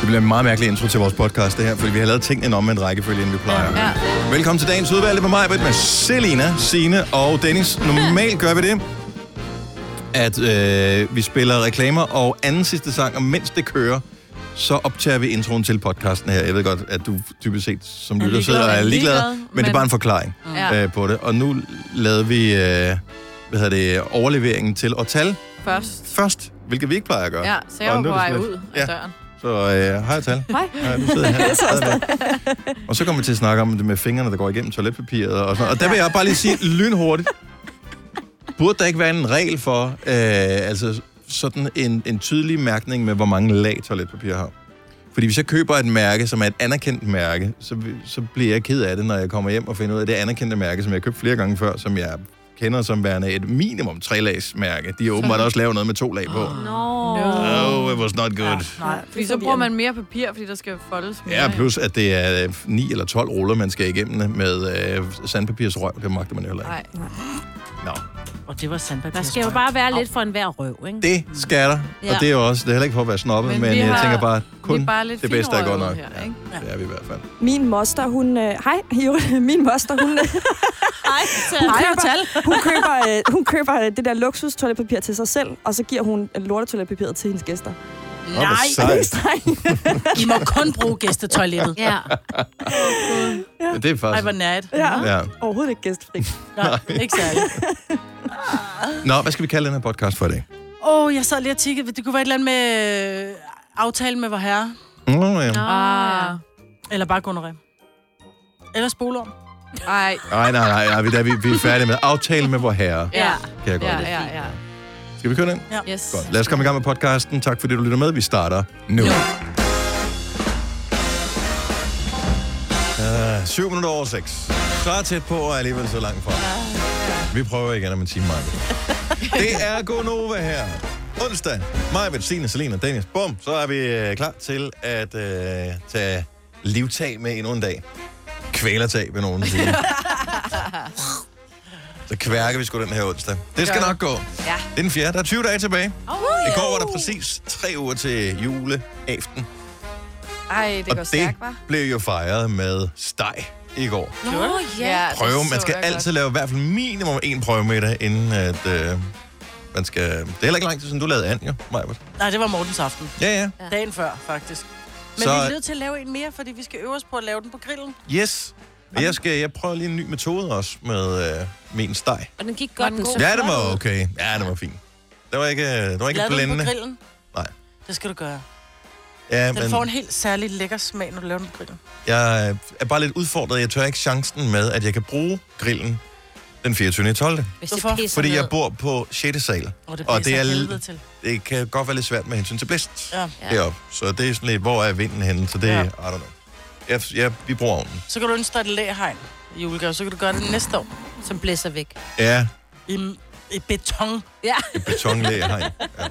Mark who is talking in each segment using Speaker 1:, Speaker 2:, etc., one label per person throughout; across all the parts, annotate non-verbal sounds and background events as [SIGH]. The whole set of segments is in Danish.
Speaker 1: Det bliver en meget mærkelig intro til vores podcast, det her, fordi vi har lavet tingene om med en rækkefølge, end vi plejer.
Speaker 2: Ja.
Speaker 1: Velkommen til dagens udvalgte på mig, med Selina, Sine og Dennis. Normalt gør vi det, at øh, vi spiller reklamer og anden sidste sang, og mens det kører, så optager vi introen til podcasten her. Jeg ved godt, at du typisk set som lytter
Speaker 3: ligeglad.
Speaker 1: sidder og er
Speaker 3: Er
Speaker 1: ligeglad,
Speaker 3: ligeglad,
Speaker 1: men, men
Speaker 3: men-
Speaker 1: det er bare en forklaring
Speaker 3: Ja.
Speaker 1: øh, på det. Og nu lavede vi øh, hvad hedder det, overleveringen til Ortal
Speaker 3: Først.
Speaker 1: først, hvilket vi ikke plejer at gøre.
Speaker 3: Ja, så jeg
Speaker 1: Og
Speaker 3: var
Speaker 1: nu
Speaker 3: på
Speaker 1: er det
Speaker 3: vej
Speaker 1: sådan
Speaker 3: ud
Speaker 1: lidt-
Speaker 3: af døren.
Speaker 1: Så øh, hej Tal.
Speaker 3: Hej.
Speaker 1: Ja, du sidder her. Og så kommer vi til at snakke om det med fingrene, der går igennem toiletpapiret og sådan noget. Og der vil jeg bare lige sige lynhurtigt. Burde der ikke være en regel for, øh, altså sådan en, en tydelig mærkning med, hvor mange lag toiletpapir har? Fordi hvis jeg køber et mærke, som er et anerkendt mærke, så, vi- så bliver jeg ked af det, når jeg kommer hjem og finder ud af det anerkendte mærke, som jeg har købt flere gange før, som jeg kender som værende et minimum tre-lags mærke. De har åbenbart også lavet noget med to lag på.
Speaker 3: No.
Speaker 1: Oh, it was not good.
Speaker 3: Nej, fordi så bruger man mere papir, fordi der skal foldes mere.
Speaker 1: Ja, plus at det er 9 eller 12 ruller, man skal igennem med øh, sandpapirsrøv. Det magter man jo heller ikke.
Speaker 3: Nej.
Speaker 1: Nå,
Speaker 4: Og det var sandpapir.
Speaker 5: Der skal jo bare være lidt for enhver røv, ikke?
Speaker 1: det skal der.
Speaker 5: Ja.
Speaker 1: Og det er jo også, det er heller ikke for at være snobbet, men,
Speaker 3: Men
Speaker 1: men
Speaker 3: vi
Speaker 1: jeg
Speaker 3: har-
Speaker 1: tænker bare,
Speaker 3: Kun
Speaker 1: kun
Speaker 3: er bare lidt
Speaker 1: det bedste er godt
Speaker 3: finrøvede
Speaker 1: nok.
Speaker 3: Her, ikke?
Speaker 1: ja, det er vi i hvert fald.
Speaker 6: Min moster, hun... Øh, hej, [LAUGHS] Juri. min moster, hun... Øh,
Speaker 5: Nej,
Speaker 6: hun køber, hun køber, øh, hun køber øh, det der luksus toiletpapir til sig selv, og så giver hun lortet toiletpapiret til hendes gæster.
Speaker 1: Åh, hvor
Speaker 5: Nej,
Speaker 6: Er det ikke
Speaker 3: [LAUGHS]
Speaker 1: sejt.
Speaker 6: strengt?
Speaker 5: I må kun bruge gæstetoilettet.
Speaker 3: Ja.
Speaker 1: Men Det er
Speaker 4: Ej,
Speaker 1: faktisk...
Speaker 4: hvor nært.
Speaker 6: Ja.
Speaker 1: Ja.
Speaker 6: Overhovedet ikke gæstfri.
Speaker 4: Nej, ikke særlig.
Speaker 1: Nå, hvad skal vi kalde den her podcast for i dag?
Speaker 4: Åh, oh, jeg sad lige og tikkede. Det kunne være et eller andet med øh, aftale med vor herre.
Speaker 1: Nå, Mm, ja.
Speaker 3: Ah.
Speaker 4: Eller bare gonoré. Eller spolorm.
Speaker 3: Ej.
Speaker 1: Nej, nej, nej, nej, vi, der, vi, vi er færdige med aftale med vor herre,
Speaker 3: Ja.
Speaker 1: kan jeg godt
Speaker 3: Ja,
Speaker 1: lide.
Speaker 3: ja, ja.
Speaker 1: Skal vi køre den?
Speaker 3: Yes.
Speaker 1: Godt. Lad os komme i gang med podcasten. Tak fordi du lytter med. Vi starter nu. Uh, 7 minutter over 6. Så er tæt på, og alligevel så langt fra. Vi prøver igen om en time, Michael. Det er Gonova her. Onsdag. Maja, Bettine, Selina, Dennis. Bum. Så er vi øh, klar til at øh, tage livtag med endnu en dag. Kvælertag, vil nogen sige. Så kværker vi sgu den her onsdag. Det skal nok gå. Ja. Det er den fjerde. Der er 20 dage tilbage. I går var der præcis tre uger til juleaften.
Speaker 3: Ej, det går
Speaker 1: og
Speaker 3: stærkt,
Speaker 1: det
Speaker 3: hva'?
Speaker 1: blev jo fejret med steg i går.
Speaker 5: Nå,
Speaker 3: Ja, det
Speaker 1: Prøve. Man
Speaker 3: så
Speaker 1: skal
Speaker 3: jeg
Speaker 1: altid lave i hvert fald minimum en prøve med det, inden at... Øh, man skal... Det er heller ikke lang tid siden, du lavede and, jo, Majbert.
Speaker 4: Nej, det var Mortens aften.
Speaker 1: Ja, ja.
Speaker 4: Ja. Dagen før, faktisk. Men
Speaker 1: Så-
Speaker 4: så... vi er nødt til at lave en mere, fordi vi skal øve os på at lave den på grillen.
Speaker 1: Yes. Og jeg, skal, jeg prøver lige en ny metode også med øh, min steg.
Speaker 5: Og den gik
Speaker 3: Var
Speaker 5: godt,
Speaker 3: den
Speaker 5: den
Speaker 3: god?
Speaker 5: så
Speaker 1: Ja, det
Speaker 5: flot
Speaker 1: var
Speaker 5: ud.
Speaker 1: okay. Ja, det var fint. Det var ikke, det var ikke
Speaker 4: Laver du den på
Speaker 1: blændende.
Speaker 4: grillen?
Speaker 1: Nej.
Speaker 4: Det skal du gøre.
Speaker 1: Ja,
Speaker 4: Den får en helt særlig lækker smag, når du laver den på grillen.
Speaker 1: Jeg øh, er bare lidt udfordret. Jeg tør ikke chancen med, at jeg kan bruge grillen den 24. 12.
Speaker 5: Hvis det
Speaker 4: Hvorfor?
Speaker 5: pisser
Speaker 1: Fordi
Speaker 5: ned.
Speaker 1: jeg bor på 6. sal.
Speaker 4: Og det,
Speaker 1: Og
Speaker 4: blæser
Speaker 1: det er
Speaker 4: af
Speaker 1: l-
Speaker 4: helvede til.
Speaker 1: Det kan godt være lidt svært med hensyn til blæst ja.
Speaker 4: Ja.
Speaker 1: deroppe. Så det er sådan lidt, hvor er vinden henne? Så det er,
Speaker 4: Ja.
Speaker 1: ja. I don't know. Jeg, jeg, vi bruger ovnen.
Speaker 4: Så kan du ønske dig et læhegn i julegave. Så kan du gøre det næste år.
Speaker 5: Som blæser væk.
Speaker 1: Ja,
Speaker 4: I, i beton.
Speaker 5: Ja.
Speaker 1: et betonlæg hegn. Ja.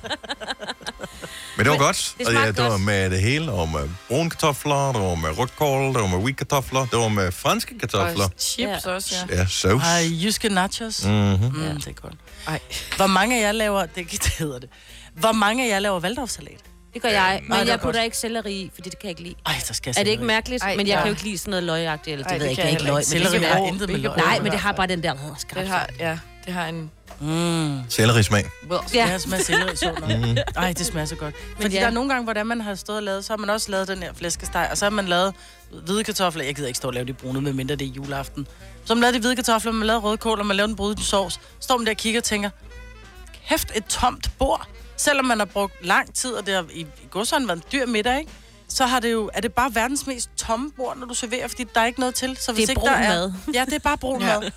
Speaker 1: Men det var godt.
Speaker 5: det
Speaker 1: og ja,
Speaker 5: smagte
Speaker 1: det var
Speaker 5: godt.
Speaker 1: med det hele. Og med brune kartofler, det var med rødkål, det var med wheat kartofler, det var med franske kartofler.
Speaker 3: Og chips også, ja.
Speaker 1: Ja, sovs.
Speaker 4: Ej, jyske nachos. Mm.
Speaker 1: Mm-hmm.
Speaker 4: Mm, det er godt.
Speaker 3: Ej.
Speaker 4: Hvor mange af jer laver... Det, [LAUGHS] det hedder det. Hvor mange af jer laver valdorfsalat?
Speaker 5: Det gør jeg,
Speaker 1: Øh,
Speaker 4: nej,
Speaker 5: men
Speaker 4: det er
Speaker 5: jeg putter
Speaker 4: godt.
Speaker 5: ikke selleri i, fordi det kan jeg ikke lide.
Speaker 4: Ej, der skal jeg
Speaker 5: Er det
Speaker 4: selv
Speaker 5: ikke
Speaker 4: noget i.
Speaker 5: mærkeligt?
Speaker 3: Ej,
Speaker 5: men jeg
Speaker 3: ja.
Speaker 5: kan jo ikke lide sådan noget løgagtigt, eller det
Speaker 3: Ej,
Speaker 5: ved
Speaker 3: det
Speaker 5: jeg ikke,
Speaker 3: kan
Speaker 5: jeg
Speaker 3: jeg
Speaker 4: heller
Speaker 5: ikke løg. Men
Speaker 4: ikke.
Speaker 5: det
Speaker 4: Selleri
Speaker 5: kan
Speaker 4: har
Speaker 5: være-
Speaker 4: intet med løg.
Speaker 5: Nej, men det har bare den der... åh, skarpt.
Speaker 3: Det har, ja, det har en...
Speaker 4: Mm.
Speaker 1: Sellerismag.
Speaker 5: Ja.
Speaker 4: Ja. Det smager selleri så mm. Ej, det smager så godt. Fordi
Speaker 5: ja.
Speaker 4: ja. der er nogle gange, hvordan man har stået og lavet, så har man også lavet den her flæskesteg, og så har man lavet hvide kartofler. Jeg gider ikke stå og lave de brune, medmindre det er juleaften. Så har man lavet de hvide kartofler, man lavede rødkål, og man lavede en bruden sovs. Står man der og kigger og tænker, kæft et tomt bord. Selvom man har brugt lang tid, og det har i i godsøjne været en dyr middag, ikke? så har det jo, er det bare verdens mest tomme bord, når du serverer, fordi der er ikke noget til. Så hvis
Speaker 5: er
Speaker 4: ikke
Speaker 5: brun
Speaker 4: der er,
Speaker 5: mad.
Speaker 4: Ja, det er bare brun mad. Det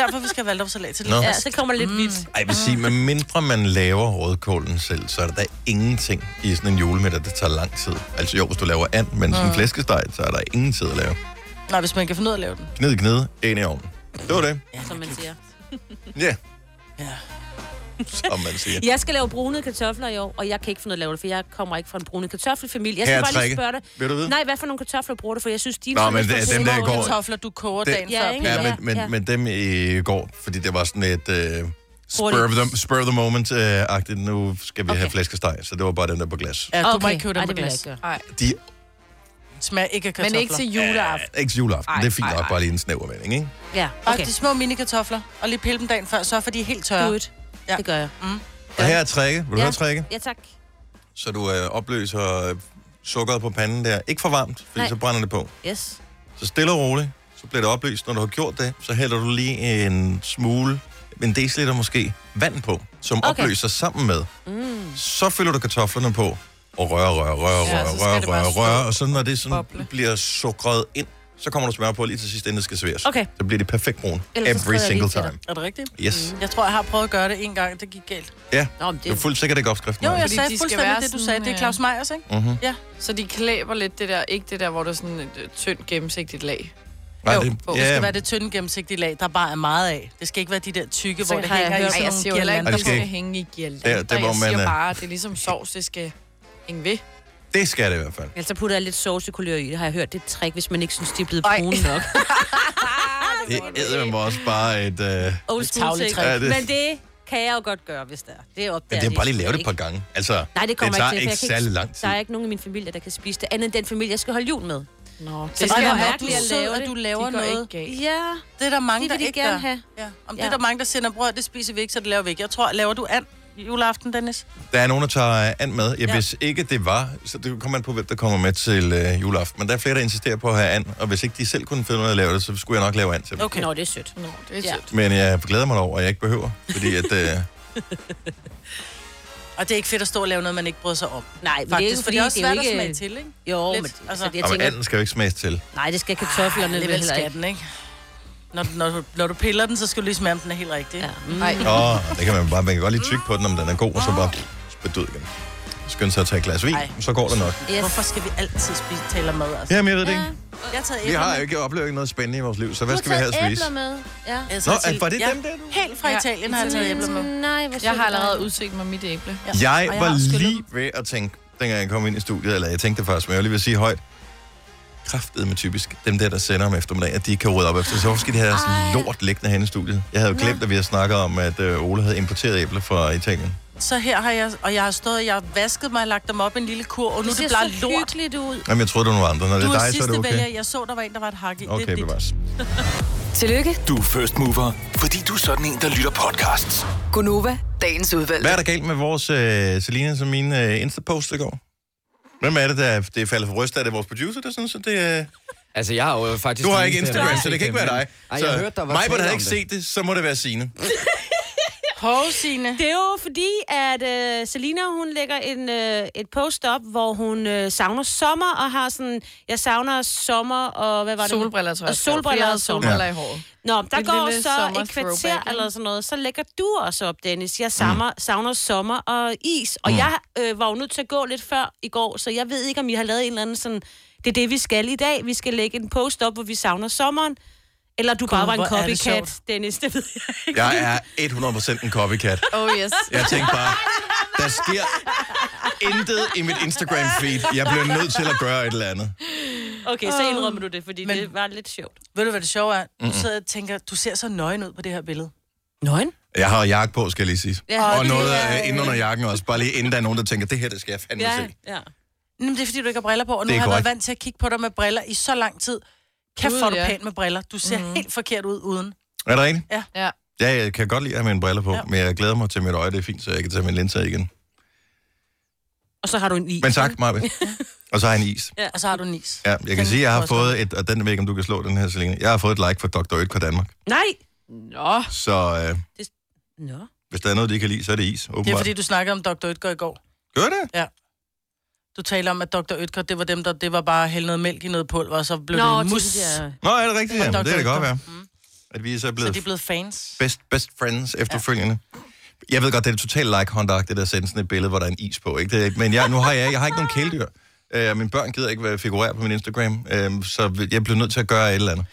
Speaker 4: er derfor, vi skal have valdorfsalat til det.
Speaker 1: Nå.
Speaker 5: Ja, så kommer det lidt hvidt.
Speaker 1: Ej, jeg vil sige, med mindre man laver rødkålen selv, så er der da ingenting i sådan en julemiddag, der tager lang tid. Altså jo, hvis du laver and, men sådan en flæskesteg, så er der ingen tid at lave.
Speaker 4: Nej, hvis man kan finde ud af at lave den.
Speaker 1: Gnid, gnid, ind i ovnen. Det var det.
Speaker 5: Mm, som man siger.
Speaker 1: Ja.
Speaker 4: Ja.
Speaker 1: Som man
Speaker 5: [LAUGHS]
Speaker 1: siger.
Speaker 5: Jeg skal lave brune kartofler i år, og jeg kan ikke finde ud af at lave det, for jeg kommer ikke fra en brune kartoffelfamilie. Jeg
Speaker 1: Her
Speaker 5: skal
Speaker 1: er
Speaker 5: bare lige
Speaker 1: tricket.
Speaker 5: spørge dig.
Speaker 1: Vil du vide?
Speaker 5: Nej, hvad for nogle kartofler bruger du? For jeg synes, de er
Speaker 1: Mm. Nå,
Speaker 5: sådan
Speaker 1: men
Speaker 5: lidt
Speaker 1: det er dem,
Speaker 5: for
Speaker 1: der
Speaker 5: store.
Speaker 1: går-
Speaker 4: kartofler, du koger
Speaker 1: Det-
Speaker 4: dagen
Speaker 5: Ja,
Speaker 4: før.
Speaker 5: ikke?
Speaker 1: Ja,
Speaker 4: piller.
Speaker 1: men, men,
Speaker 5: ja.
Speaker 1: men dem i går, fordi det var sådan et uh, spur, of
Speaker 5: Hurtigt.
Speaker 1: the, spur of the moment-agtigt. nu skal vi okay. have
Speaker 5: Okay.
Speaker 1: flæskesteg, så det var bare den der på glas.
Speaker 4: Ja, du må
Speaker 5: Okay.
Speaker 4: ikke købe
Speaker 5: Ej,
Speaker 4: dem på
Speaker 5: det vil jeg
Speaker 4: glas.
Speaker 5: ikke gøre.
Speaker 3: Ej,
Speaker 1: De
Speaker 4: smager ikke af kartofler.
Speaker 3: Men ikke til juleaften.
Speaker 1: Ikke til juleaften.
Speaker 3: Ej,
Speaker 1: det er fint
Speaker 3: ej,
Speaker 1: nok,
Speaker 3: ej.
Speaker 1: bare lige en snæver vending, ikke?
Speaker 5: Ja,
Speaker 4: Bare
Speaker 5: okay.
Speaker 4: de små minikartofler, og lige pille dem dagen før, så for de er helt tørre.
Speaker 5: Good.
Speaker 4: Ja.
Speaker 5: Det gør jeg.
Speaker 1: Og her er trække. Vil du
Speaker 5: Ja.
Speaker 1: høre trække?
Speaker 5: Ja, tak.
Speaker 1: Så du øh, opløser øh, sukkeret på panden der. Ikke for varmt, fordi
Speaker 5: Nej.
Speaker 1: så brænder det på.
Speaker 5: Yes.
Speaker 1: Så stille og roligt, så bliver det opløst. Når du har gjort det, så hælder du lige en smule, en deciliter måske, vand på, som okay.
Speaker 5: Okay.
Speaker 1: opløser sammen med.
Speaker 5: Mm.
Speaker 1: Så fylder du kartoflerne på, og rører, rører, rører,
Speaker 3: Ja,
Speaker 1: rører,
Speaker 3: så skal
Speaker 1: rører,
Speaker 3: det bare
Speaker 1: rører,
Speaker 3: stå
Speaker 1: rører. Og så når det sådan
Speaker 3: boble.
Speaker 1: bliver sukret ind, så kommer der smør på lige til sidst, inden det skal serveres.
Speaker 5: Okay.
Speaker 1: Så bliver det perfekt brun.
Speaker 5: Ellers så
Speaker 1: Every
Speaker 5: skriver jeg
Speaker 1: single
Speaker 5: lige til
Speaker 1: time.
Speaker 4: Er det rigtigt?
Speaker 1: Yes. Mm.
Speaker 4: Jeg tror, jeg har prøvet at gøre det en gang, det gik galt.
Speaker 1: Ja,
Speaker 5: Nå, men det
Speaker 1: du er fuldt sikkert ikke opskriften.
Speaker 4: Jo,
Speaker 1: Maja.
Speaker 4: jeg
Speaker 3: Fordi
Speaker 4: sagde
Speaker 3: de skal
Speaker 4: fuldstændig
Speaker 3: være
Speaker 4: det, du
Speaker 3: sådan,
Speaker 4: sagde. Det er
Speaker 3: øh,
Speaker 4: Claus Meyers, ikke?
Speaker 1: Mhm.
Speaker 3: Så de klæber lidt det der, ikke det der, hvor der er sådan et øh, tyndt gennemsigtigt lag.
Speaker 1: Nej,
Speaker 3: Jo,
Speaker 1: det,
Speaker 3: på.
Speaker 4: Det
Speaker 1: ja,
Speaker 4: skal være det tynde gennemsigtige lag, der bare er meget af. Det skal ikke være de der tykke,
Speaker 5: Så
Speaker 4: hvor det
Speaker 5: har jeg
Speaker 4: hænger i
Speaker 3: Ej,
Speaker 5: hørt-
Speaker 4: sådan
Speaker 3: jeg
Speaker 4: nogle
Speaker 3: siger jo heller
Speaker 1: Ej,
Speaker 3: ikke,
Speaker 4: girlander.
Speaker 1: det
Speaker 3: det
Speaker 1: skal
Speaker 3: skal
Speaker 1: ikke-
Speaker 3: hænge i
Speaker 1: Der-
Speaker 3: girlander.
Speaker 1: der, hvor
Speaker 3: jeg
Speaker 1: man
Speaker 3: siger
Speaker 1: er-
Speaker 3: bare, det er ligesom sovs, det skal hænge ved.
Speaker 1: Ah,
Speaker 3: Ah,
Speaker 1: det skal det i hvert fald.
Speaker 5: Ellers så putter jeg lidt sovsekulør i det, har jeg hørt. Det er et trick, hvis man ikke synes, de er blevet
Speaker 3: Ej.
Speaker 5: brune nok.
Speaker 1: Det er mig også bare et... Øh,
Speaker 5: Old school
Speaker 4: tavligt
Speaker 1: trick.
Speaker 5: trick.
Speaker 1: Ja, det-
Speaker 5: Men det kan jeg jo godt gøre, hvis det er. Det er
Speaker 1: ja,
Speaker 5: opdager
Speaker 1: det er bare lige lave det et
Speaker 5: ikke?
Speaker 1: par gange. Altså,
Speaker 5: Nej, det kommer
Speaker 1: tager
Speaker 5: jeg ikke til, for
Speaker 1: ikke
Speaker 5: jeg kan
Speaker 1: særlig lang tid.
Speaker 5: Der er ikke nogen i min familie, der kan spise det, andet end den familie, jeg skal holde jul med.
Speaker 3: Nå,
Speaker 5: Så
Speaker 3: det
Speaker 5: skal
Speaker 4: Ej,
Speaker 3: skal
Speaker 5: være
Speaker 4: hvor
Speaker 3: jeg
Speaker 4: er
Speaker 5: mærkeligt
Speaker 4: du
Speaker 3: mærke.
Speaker 5: at
Speaker 4: sød,
Speaker 5: lave
Speaker 4: at
Speaker 5: det.
Speaker 4: du laver
Speaker 3: De går
Speaker 4: noget.
Speaker 3: ikke galt.
Speaker 5: Ja,
Speaker 4: Det er der mange,
Speaker 5: det
Speaker 4: der
Speaker 5: vil de
Speaker 4: ikke
Speaker 5: gerne
Speaker 4: gør.
Speaker 5: have.
Speaker 4: Ja. Om
Speaker 5: Ja.
Speaker 4: det er der mange, der sender brød, det spiser vi ikke, så det laver vi ikke. Jeg tror, laver du and juleaften, Dennis?
Speaker 1: Der er nogen, der tager øh, and med. Ja,
Speaker 4: Ja.
Speaker 1: Hvis ikke det var, så det kommer an på, hvem der kommer med til øh, juleaften. Men der er flere, der insisterer på at have and, og hvis ikke de selv kunne finde ud af at lave det, så skulle jeg nok lave and til dem.
Speaker 4: Okay.
Speaker 5: Nå, det er sødt.
Speaker 3: Nå, det er
Speaker 5: Ja.
Speaker 3: sødt.
Speaker 1: Men jeg glæder mig over, at jeg ikke behøver, fordi
Speaker 5: [LAUGHS]
Speaker 1: at, øh,
Speaker 4: Og det er ikke fedt at stå og lave noget, man ikke bryder sig om.
Speaker 5: Nej,
Speaker 4: Faktisk,
Speaker 5: men det er jo
Speaker 4: også
Speaker 5: fordi, det er
Speaker 4: svært
Speaker 5: jo
Speaker 4: at smage
Speaker 5: ikke...
Speaker 4: til, ikke?
Speaker 5: Jo,
Speaker 4: Lidt,
Speaker 5: men det-
Speaker 4: altså. Ah,
Speaker 5: altså, det, jeg
Speaker 1: og
Speaker 5: tænker,
Speaker 1: anden skal jo ikke smages til.
Speaker 5: nej, det skal kartoflerne vel
Speaker 4: Alligevel
Speaker 5: heller
Speaker 4: skal
Speaker 5: ikke.
Speaker 4: den, ikke? Når, du- når, du, når du piller den, så skal du lige smage, om den er helt rigtig.
Speaker 5: Ja.
Speaker 4: Ja.
Speaker 5: Mm.
Speaker 3: Nej,
Speaker 1: Åh, det kan man bare, man kan godt lige tygge på den, om den er god, og så bare spytte ud igen. Skynd sig at tage et glas vin,
Speaker 4: Ej.
Speaker 1: så går det nok.
Speaker 5: Yes.
Speaker 4: Hvorfor skal vi altid spise taler mad? Altså?
Speaker 1: Jamen, jeg ved det
Speaker 5: Ja.
Speaker 1: ikke.
Speaker 4: Jeg har taget
Speaker 1: Vi
Speaker 4: æbler
Speaker 1: har
Speaker 4: med.
Speaker 1: jo ikke oplevet noget spændende i vores liv, så hvad
Speaker 5: Du
Speaker 1: skal vi
Speaker 5: har
Speaker 1: have at
Speaker 5: taget
Speaker 1: spise?
Speaker 5: æbler med. Ja.
Speaker 4: Jeg har
Speaker 1: Nå,
Speaker 4: taget til-
Speaker 1: er- var det
Speaker 4: ja,
Speaker 1: dem der, du?
Speaker 4: Helt fra
Speaker 3: Ja.
Speaker 4: Italien har jeg taget æbler med.
Speaker 5: Nej, hvor
Speaker 3: jeg har
Speaker 5: sødt,
Speaker 3: allerede
Speaker 5: nej.
Speaker 3: udset mig mit æble.
Speaker 1: Jeg
Speaker 4: Og jeg har
Speaker 1: var
Speaker 4: også skyllet
Speaker 1: lige ved at tænke, dengang jeg kom ind i studiet, eller jeg tænkte det først, men jeg var lige ved at sige højt, kraftede med typisk dem der, der sender om eftermiddagen, at de ikke kan rydde op efter. Så hvorfor skal de have sådan
Speaker 5: Ej.
Speaker 1: lort liggende hen i studiet? Jeg havde jo glemt, at vi havde snakket om, at øh, Ole havde importeret æbler fra Italien.
Speaker 4: Så her har jeg, og jeg har stået, jeg har vasket mig og lagt dem op i en lille kur, og nu er
Speaker 5: Det
Speaker 4: det
Speaker 5: ser
Speaker 4: bare
Speaker 5: så
Speaker 4: lort.
Speaker 5: hyggeligt ud.
Speaker 1: Jamen, jeg troede, det var nogen andre. Når
Speaker 4: Du
Speaker 1: det er
Speaker 4: er
Speaker 1: dig, så er
Speaker 4: sidste
Speaker 1: det okay.
Speaker 4: vælger. Jeg så, der var en, der var et hak i. Det
Speaker 1: Okay,
Speaker 4: er dit.
Speaker 1: bevares.
Speaker 2: Tillykke,
Speaker 7: First mover, fordi du er sådan en, der lytter podcasts.
Speaker 2: Gunova, dagens udvalgte.
Speaker 1: Hvad er der galt med vores øh, Selina som min øh, Insta-post i går? Hvem er det, der det er faldet for ryst? Er det vores producer, der synes, at det er...
Speaker 8: Altså, jeg har jo faktisk...
Speaker 1: Du har
Speaker 8: den
Speaker 1: ikke
Speaker 8: eneste, der
Speaker 1: Instagram,
Speaker 8: har
Speaker 1: så det
Speaker 8: set
Speaker 1: kan ikke
Speaker 8: dem,
Speaker 1: være dig.
Speaker 8: men- Ej, jeg hørte, der var
Speaker 1: mig,
Speaker 8: tale
Speaker 1: havde
Speaker 8: om det.
Speaker 1: ikke set det, så må det være Signe.
Speaker 4: Hov, Signe.
Speaker 5: Det er jo fordi, at øh, Selina, hun lægger en, øh, et post op, hvor hun øh, savner sommer, og har sådan, jeg savner sommer, og hvad var det?
Speaker 3: Solbriller, tror jeg.
Speaker 5: Og solbriller
Speaker 3: Jeg
Speaker 5: og
Speaker 3: havde
Speaker 5: solbriller.
Speaker 3: solbriller i håret.
Speaker 5: Nå, der
Speaker 3: Et
Speaker 5: går
Speaker 3: lille
Speaker 5: så
Speaker 3: sommer
Speaker 5: et kvarter
Speaker 3: throwback, ikke?
Speaker 5: eller sådan noget, så lægger du også op, Dennis. Jeg savner, mm. savner sommer og is, og mm. jeg øh, var jo nødt til at gå lidt før i går, så jeg ved ikke, om I har lavet en eller anden sådan, det er det, vi skal i dag. Vi skal lægge en post op, hvor vi savner sommeren. Eller du bare
Speaker 4: Gud,
Speaker 5: var en
Speaker 4: hvor er det
Speaker 5: copycat,
Speaker 4: sjovt.
Speaker 5: Dennis, det ved jeg ikke.
Speaker 1: Jeg er 100% en copycat.
Speaker 3: [LAUGHS] Oh yes.
Speaker 1: Jeg tænkte bare, der sker intet i mit Instagram-feed. Jeg bliver nødt til at gøre et eller andet.
Speaker 5: Okay, så indrømmer du det, fordi
Speaker 4: Men-
Speaker 5: Men... det var lidt sjovt.
Speaker 4: Ved du, hvad det sjove er? Du sidder og tænker, du ser så nøgen ud på det her billede.
Speaker 5: Nøgen?
Speaker 1: Jeg har jakke på, skal jeg lige sige.
Speaker 5: Ja.
Speaker 1: Og noget øh, inde under jakken også. Bare lige inden der er nogen, der tænker, det her, det skal jeg fandme
Speaker 5: Ja,
Speaker 1: se.
Speaker 5: ja.
Speaker 4: Jamen, det er fordi, du ikke har briller på, og nu
Speaker 1: Det er
Speaker 4: har jeg været
Speaker 1: korrekt.
Speaker 4: vant til at kigge på dig med briller i så lang tid. Kæft,
Speaker 3: Gud,
Speaker 4: får du
Speaker 3: ja.
Speaker 4: pænt med briller. Du ser
Speaker 5: Mhm.
Speaker 4: mm. helt forkert ud uden.
Speaker 1: Er det rigtigt?
Speaker 3: Ja.
Speaker 1: Ja, jeg kan godt lide at have mine briller på,
Speaker 4: Ja.
Speaker 1: men jeg glæder mig til mit øje. Det er fint, så jeg kan tage min linser af igen.
Speaker 5: Og så har du en i.
Speaker 1: Men tak, Marve. Og så har jeg en is.
Speaker 4: Og så har du nis.
Speaker 1: Ja, jeg kan
Speaker 4: Den
Speaker 1: sige, at jeg har
Speaker 4: koster-
Speaker 1: fået et, og den ved jeg ikke, om du kan slå den her, Selina. Jeg har fået et like fra Dr. Øtker Danmark.
Speaker 5: Nej!
Speaker 3: Nå,
Speaker 1: Så øh,
Speaker 5: Nå.
Speaker 1: hvis der er noget, de ikke kan lide, så er det is, åbenbart.
Speaker 4: Det er fordi, du snakkede om Dr. Ytger i går.
Speaker 1: Gør det?
Speaker 4: Du taler om, at Dr. Ytger, det var dem, der det var bare at hælde noget mælk i noget pulver, og så blev
Speaker 5: Nå,
Speaker 4: det mus.
Speaker 5: mus. Ja.
Speaker 1: Nå, er det rigtigt?
Speaker 4: Og
Speaker 1: Ja, det
Speaker 4: Dr.
Speaker 1: kan det godt
Speaker 4: Øtker.
Speaker 1: være. At vi Mm. så er
Speaker 4: Så
Speaker 1: blevet
Speaker 4: de er blevet fans.
Speaker 1: best, best friends efterfølgende. Ja. Jeg ved godt, det er totalt like håndagt, det der at sende sådan et billede, hvor der er en is på. Ikke? Det, er- men jeg, nu har jeg, jeg har ikke nogen kæledyr. Øh, og mine børn gider ikke være figurere på min Instagram, øh, så jeg blev nødt til at gøre et eller andet.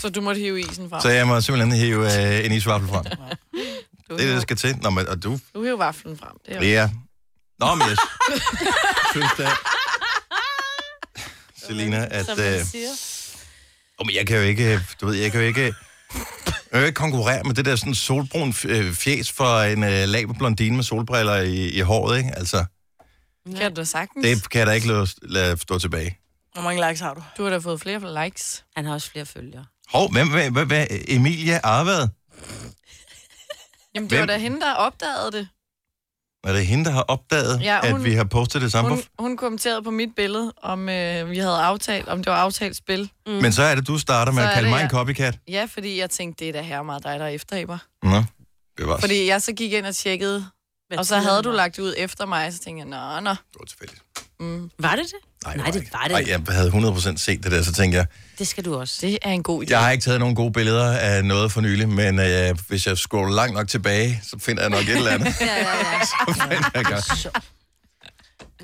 Speaker 3: så du måtte hive isen frem.
Speaker 1: Så jeg må simpelthen hive øh, en isvaffel frem. Det
Speaker 3: Du,
Speaker 1: er det, der
Speaker 3: hiver,
Speaker 1: skal til. Nå, men, og du,
Speaker 3: du hiver vaflen frem. Det er
Speaker 1: ja. Nå, [LAUGHS] men jeg synes da... Selina, at...
Speaker 5: Som
Speaker 1: Øh,
Speaker 5: man siger.
Speaker 1: oh, men jeg kan jo ikke... Du ved, jeg kan jo ikke... Jeg kan jo ikke konkurrere med det der sådan solbrun øh, fjes for en øh, laberblondine med solbriller i, i håret, ikke? Altså,
Speaker 3: Kan du da sagtens?
Speaker 1: Det kan jeg da ikke lade, lade stå tilbage.
Speaker 4: Hvor mange likes har du?
Speaker 3: Du har da fået flere likes.
Speaker 5: Han har også flere følgere.
Speaker 1: Hov, hvem, hvem, hvem, hvem Emilia Arvad?
Speaker 3: Jamen, det var
Speaker 1: Hvem?
Speaker 3: da hende, der opdagede det.
Speaker 1: Er det hende, der har opdaget,
Speaker 3: Ja,
Speaker 1: ja, hun,
Speaker 3: hun-
Speaker 1: at vi har postet det samme?
Speaker 3: Hun,
Speaker 1: Hun,
Speaker 3: hun kommenterede på mit billede, om øh, vi havde aftalt, om det var aftalt spil.
Speaker 1: mm. Men så er det, du starter med
Speaker 3: Så
Speaker 1: at
Speaker 3: er
Speaker 1: kalde
Speaker 3: det
Speaker 1: mig en
Speaker 3: jeg.
Speaker 1: copycat.
Speaker 3: Ja, fordi jeg tænkte, det er da her meget dig, der efterhæber.
Speaker 1: Nå, det var
Speaker 3: Fordi jeg så gik ind og tjekkede,
Speaker 5: Hvad
Speaker 3: og så
Speaker 5: tid er
Speaker 3: havde
Speaker 5: det
Speaker 3: du
Speaker 5: nu?
Speaker 3: lagt det ud efter mig, så tænkte jeg, nå, nå.
Speaker 1: Det var tilfældigt.
Speaker 5: Var det det? Nej, det var det.
Speaker 1: Ej, jeg havde 100% set det der, så tænkte jeg,
Speaker 5: Det skal du også.
Speaker 3: Det er en god idé.
Speaker 1: jeg har ikke taget nogen gode billeder af noget for nylig, men øh, hvis jeg scroller langt nok tilbage, så finder jeg nok et eller andet.
Speaker 5: [LAUGHS] Ja, ja, ja.
Speaker 1: [LAUGHS] Så finder jeg godt.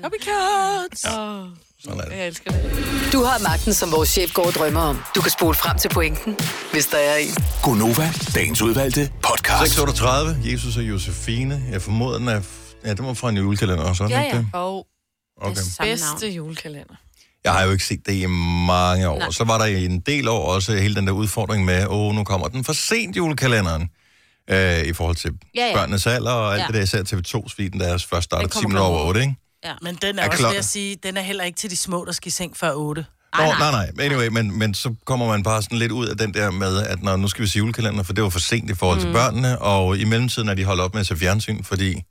Speaker 3: Copycat! Ja. Oh,
Speaker 1: Sådan er det.
Speaker 3: jeg elsker det.
Speaker 2: Du har magten, som vores chef går og drømmer om. Du kan spole frem til pointen, hvis der er en.
Speaker 7: Gonova, dagens udvalgte podcast.
Speaker 1: 638, Jesus og Josefine. Jeg formoder, den er... f- Ja, det var fra en julekalender også, ja,
Speaker 5: Ja,
Speaker 1: ja. ikke
Speaker 5: ja.
Speaker 1: det?
Speaker 3: Og
Speaker 1: Okay.
Speaker 5: Samme navn.
Speaker 3: bedste julekalender.
Speaker 1: Jeg har jo ikke set det i mange år. Nej.
Speaker 5: Nej.
Speaker 1: Så var der i en del år også hele den der udfordring med, åh, oh, nu kommer den for sent julekalenderen. Øh, I forhold til ja,
Speaker 5: Ja,
Speaker 1: ja.
Speaker 5: ja.
Speaker 1: børnenes alder og alt ja.
Speaker 5: Ja.
Speaker 1: det der, især TV2's, fordi den deres først starter
Speaker 5: Den
Speaker 1: 10
Speaker 5: kommer
Speaker 1: minutter over 8,
Speaker 5: klokken
Speaker 1: ikke?
Speaker 4: Men den er,
Speaker 1: Er
Speaker 4: er også
Speaker 1: klokken-
Speaker 4: ved at sige, den er heller ikke til de små, der skal i seng før 8.
Speaker 1: Nå, nej, nej. nej. Anyway, men, men så kommer man bare sådan lidt ud af den der med, at når, nu skal vi se julekalender, for det var for sent i forhold mm. til børnene, og i mellemtiden er de holdt op med at se fjernsyn, fordi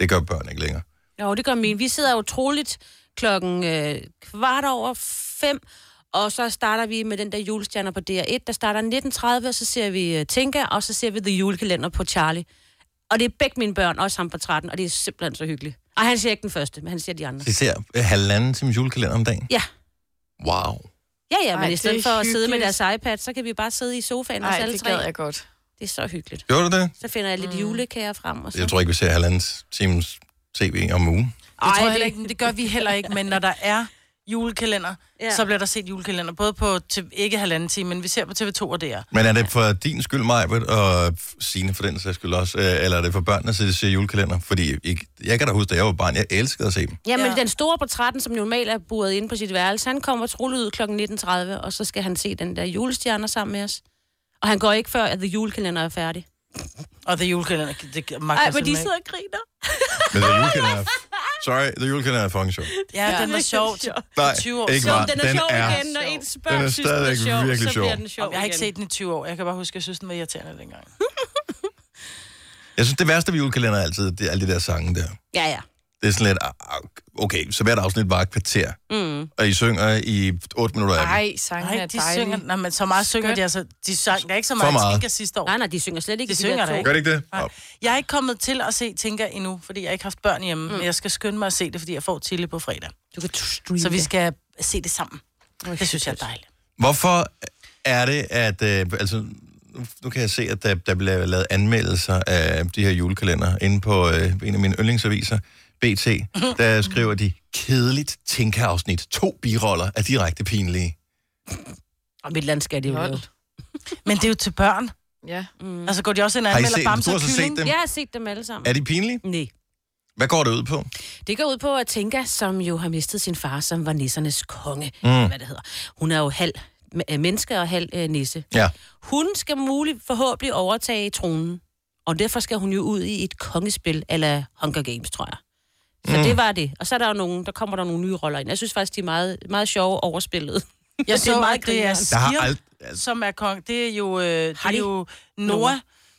Speaker 1: det gør børn ikke længere.
Speaker 5: Jo, det gør min. Vi sidder utroligt klokken øh, kvart over fem, og så starter vi med den der julestjerner på DR1, der starter 19.30, og så ser vi øh, Tinka, og så ser vi The Julekalender på Charlie. Og det er begge mine børn, også ham på 13, og det er simpelthen så hyggeligt. Og han ser ikke den første, men han ser de andre.
Speaker 1: De ser øh, halvanden times julekalender om dagen.
Speaker 5: Ja.
Speaker 1: Wow.
Speaker 5: Ja, ja, men
Speaker 3: Ej,
Speaker 5: Ej, i
Speaker 3: det er
Speaker 5: stedet for at sidde med
Speaker 3: hyggeligt.
Speaker 5: deres iPad, så kan vi bare sidde i sofaen og
Speaker 3: Nej,
Speaker 5: alle
Speaker 3: det
Speaker 5: tre.
Speaker 3: gad jeg godt.
Speaker 5: Det er så hyggeligt.
Speaker 1: Gjorde du det?
Speaker 5: Så finder jeg lidt mm. julekager frem, og så...
Speaker 1: Jeg tror ikke, vi ser halvanden times tv om ugen.
Speaker 4: Det
Speaker 5: Ej,
Speaker 4: tror jeg
Speaker 5: det-
Speaker 4: heller ikke, men det gør vi heller ikke, men når der er julekalender, ja.
Speaker 5: Ja.
Speaker 4: så bliver der set julekalender, både på, t- ikke halvanden time, men vi ser på TV2 og DR.
Speaker 1: Men er det for din skyld, Majbert, og sine for den sags skyld også, øh, eller er det for børnene, så de ser julekalender? Fordi jeg, jeg kan da huske, da jeg var barn, jeg elskede at se dem.
Speaker 5: Jamen,
Speaker 4: Ja.
Speaker 5: ja. den store på 13, som normalt er buret inde på sit værelse, han kommer trullet ud kl. 19.30, og så skal han se den der julestjerner sammen med os. Og han går ikke før, at The Julekalender er færdig.
Speaker 4: Og det julekalender, det magter jeg simpelthen
Speaker 5: og griner.
Speaker 1: Men the [LAUGHS] julekalender... Sorry, the julekalender er fucking sjov.
Speaker 4: ikke. Ja, den var sjov.
Speaker 1: Nej,
Speaker 4: 20 år
Speaker 1: ikke
Speaker 5: Jo,
Speaker 1: var.
Speaker 5: den er sjov igen, når ens børn
Speaker 1: den er
Speaker 5: synes, den er
Speaker 1: stadigvæk
Speaker 5: sjov,
Speaker 1: virkelig
Speaker 5: så
Speaker 1: sjov.
Speaker 5: bliver den sjov
Speaker 4: Jeg har ikke
Speaker 5: igen.
Speaker 4: set den i 20 år. Jeg kan bare huske, at jeg synes, den var irriterende dengang.
Speaker 1: Jeg synes, det værste ved julekalender er altid, det er alle de der sange der.
Speaker 5: Ja, ja.
Speaker 1: Det er sådan lidt, ah, okay, så hvert afsnit var et kvarter, mm. og I synger i 8 minutter af dem.
Speaker 3: Ej, sangen
Speaker 4: Nej,
Speaker 3: er
Speaker 4: de
Speaker 3: dejlig.
Speaker 4: synger... Nej, men så meget synger
Speaker 3: Skønt.
Speaker 4: de altså... De sang der er ikke så
Speaker 1: For
Speaker 4: meget,
Speaker 1: meget.
Speaker 4: meget. Tinker sidste år.
Speaker 5: Nej, nej, de synger slet ikke.
Speaker 4: Det
Speaker 5: de der
Speaker 4: synger der
Speaker 5: to.
Speaker 4: ikke.
Speaker 1: Gør det ikke det?
Speaker 4: Nej. Jeg er ikke kommet til at se Tinker endnu, fordi jeg ikke har haft børn hjemme. Mm. Men jeg skal skynde mig at se det, fordi jeg får Tille på fredag.
Speaker 5: Du kan streame
Speaker 4: Så vi
Speaker 5: det.
Speaker 4: skal se det sammen. Det synes jeg er dejligt.
Speaker 1: Hvorfor er det, at... Øh, altså, nu- nu kan jeg se, at der, der bliver lavet anmeldelser af de her julekalender inde på øh, en af mine yndlingsaviser, BT. Der skriver de, kedeligt tænkeafsnit. To biroller er direkte pinlige.
Speaker 5: Og mit land skal de jo
Speaker 3: Hold.
Speaker 5: lave.
Speaker 4: Men det er jo til børn.
Speaker 3: Ja.
Speaker 4: Mm. Altså går de også ind og
Speaker 1: Har I
Speaker 4: anmelder
Speaker 1: set dem? Du
Speaker 4: Bamse
Speaker 1: har
Speaker 4: og
Speaker 1: så set
Speaker 4: Kylling?
Speaker 1: dem.
Speaker 5: Jeg har set dem alle sammen.
Speaker 1: Er de pinlige?
Speaker 5: Nej.
Speaker 1: Hvad går det ud på?
Speaker 5: Det går ud på, at Tinka, som jo har mistet sin far, som var nissernes konge, mm. hvad det hedder. Hun er jo halv øh, menneske og halv øh, nisse.
Speaker 1: Ja.
Speaker 5: Hun skal muligt forhåbentlig overtage tronen, og derfor skal hun jo ud i et kongespil, eller Hunger Games, tror jeg. Så mm. det var det. Og så er der jo nogen, der kommer der nogle nye roller ind. Jeg synes faktisk, de er meget, meget sjove overspillet.
Speaker 4: Jeg
Speaker 5: [LAUGHS] Det
Speaker 4: så,
Speaker 5: er meget
Speaker 4: at det er
Speaker 5: grineren.
Speaker 1: Der har
Speaker 4: Sirm,
Speaker 1: alt... Altså,
Speaker 4: som er kong. Det er jo, øh, det er
Speaker 5: Hardy.
Speaker 4: jo Noah
Speaker 5: Noah.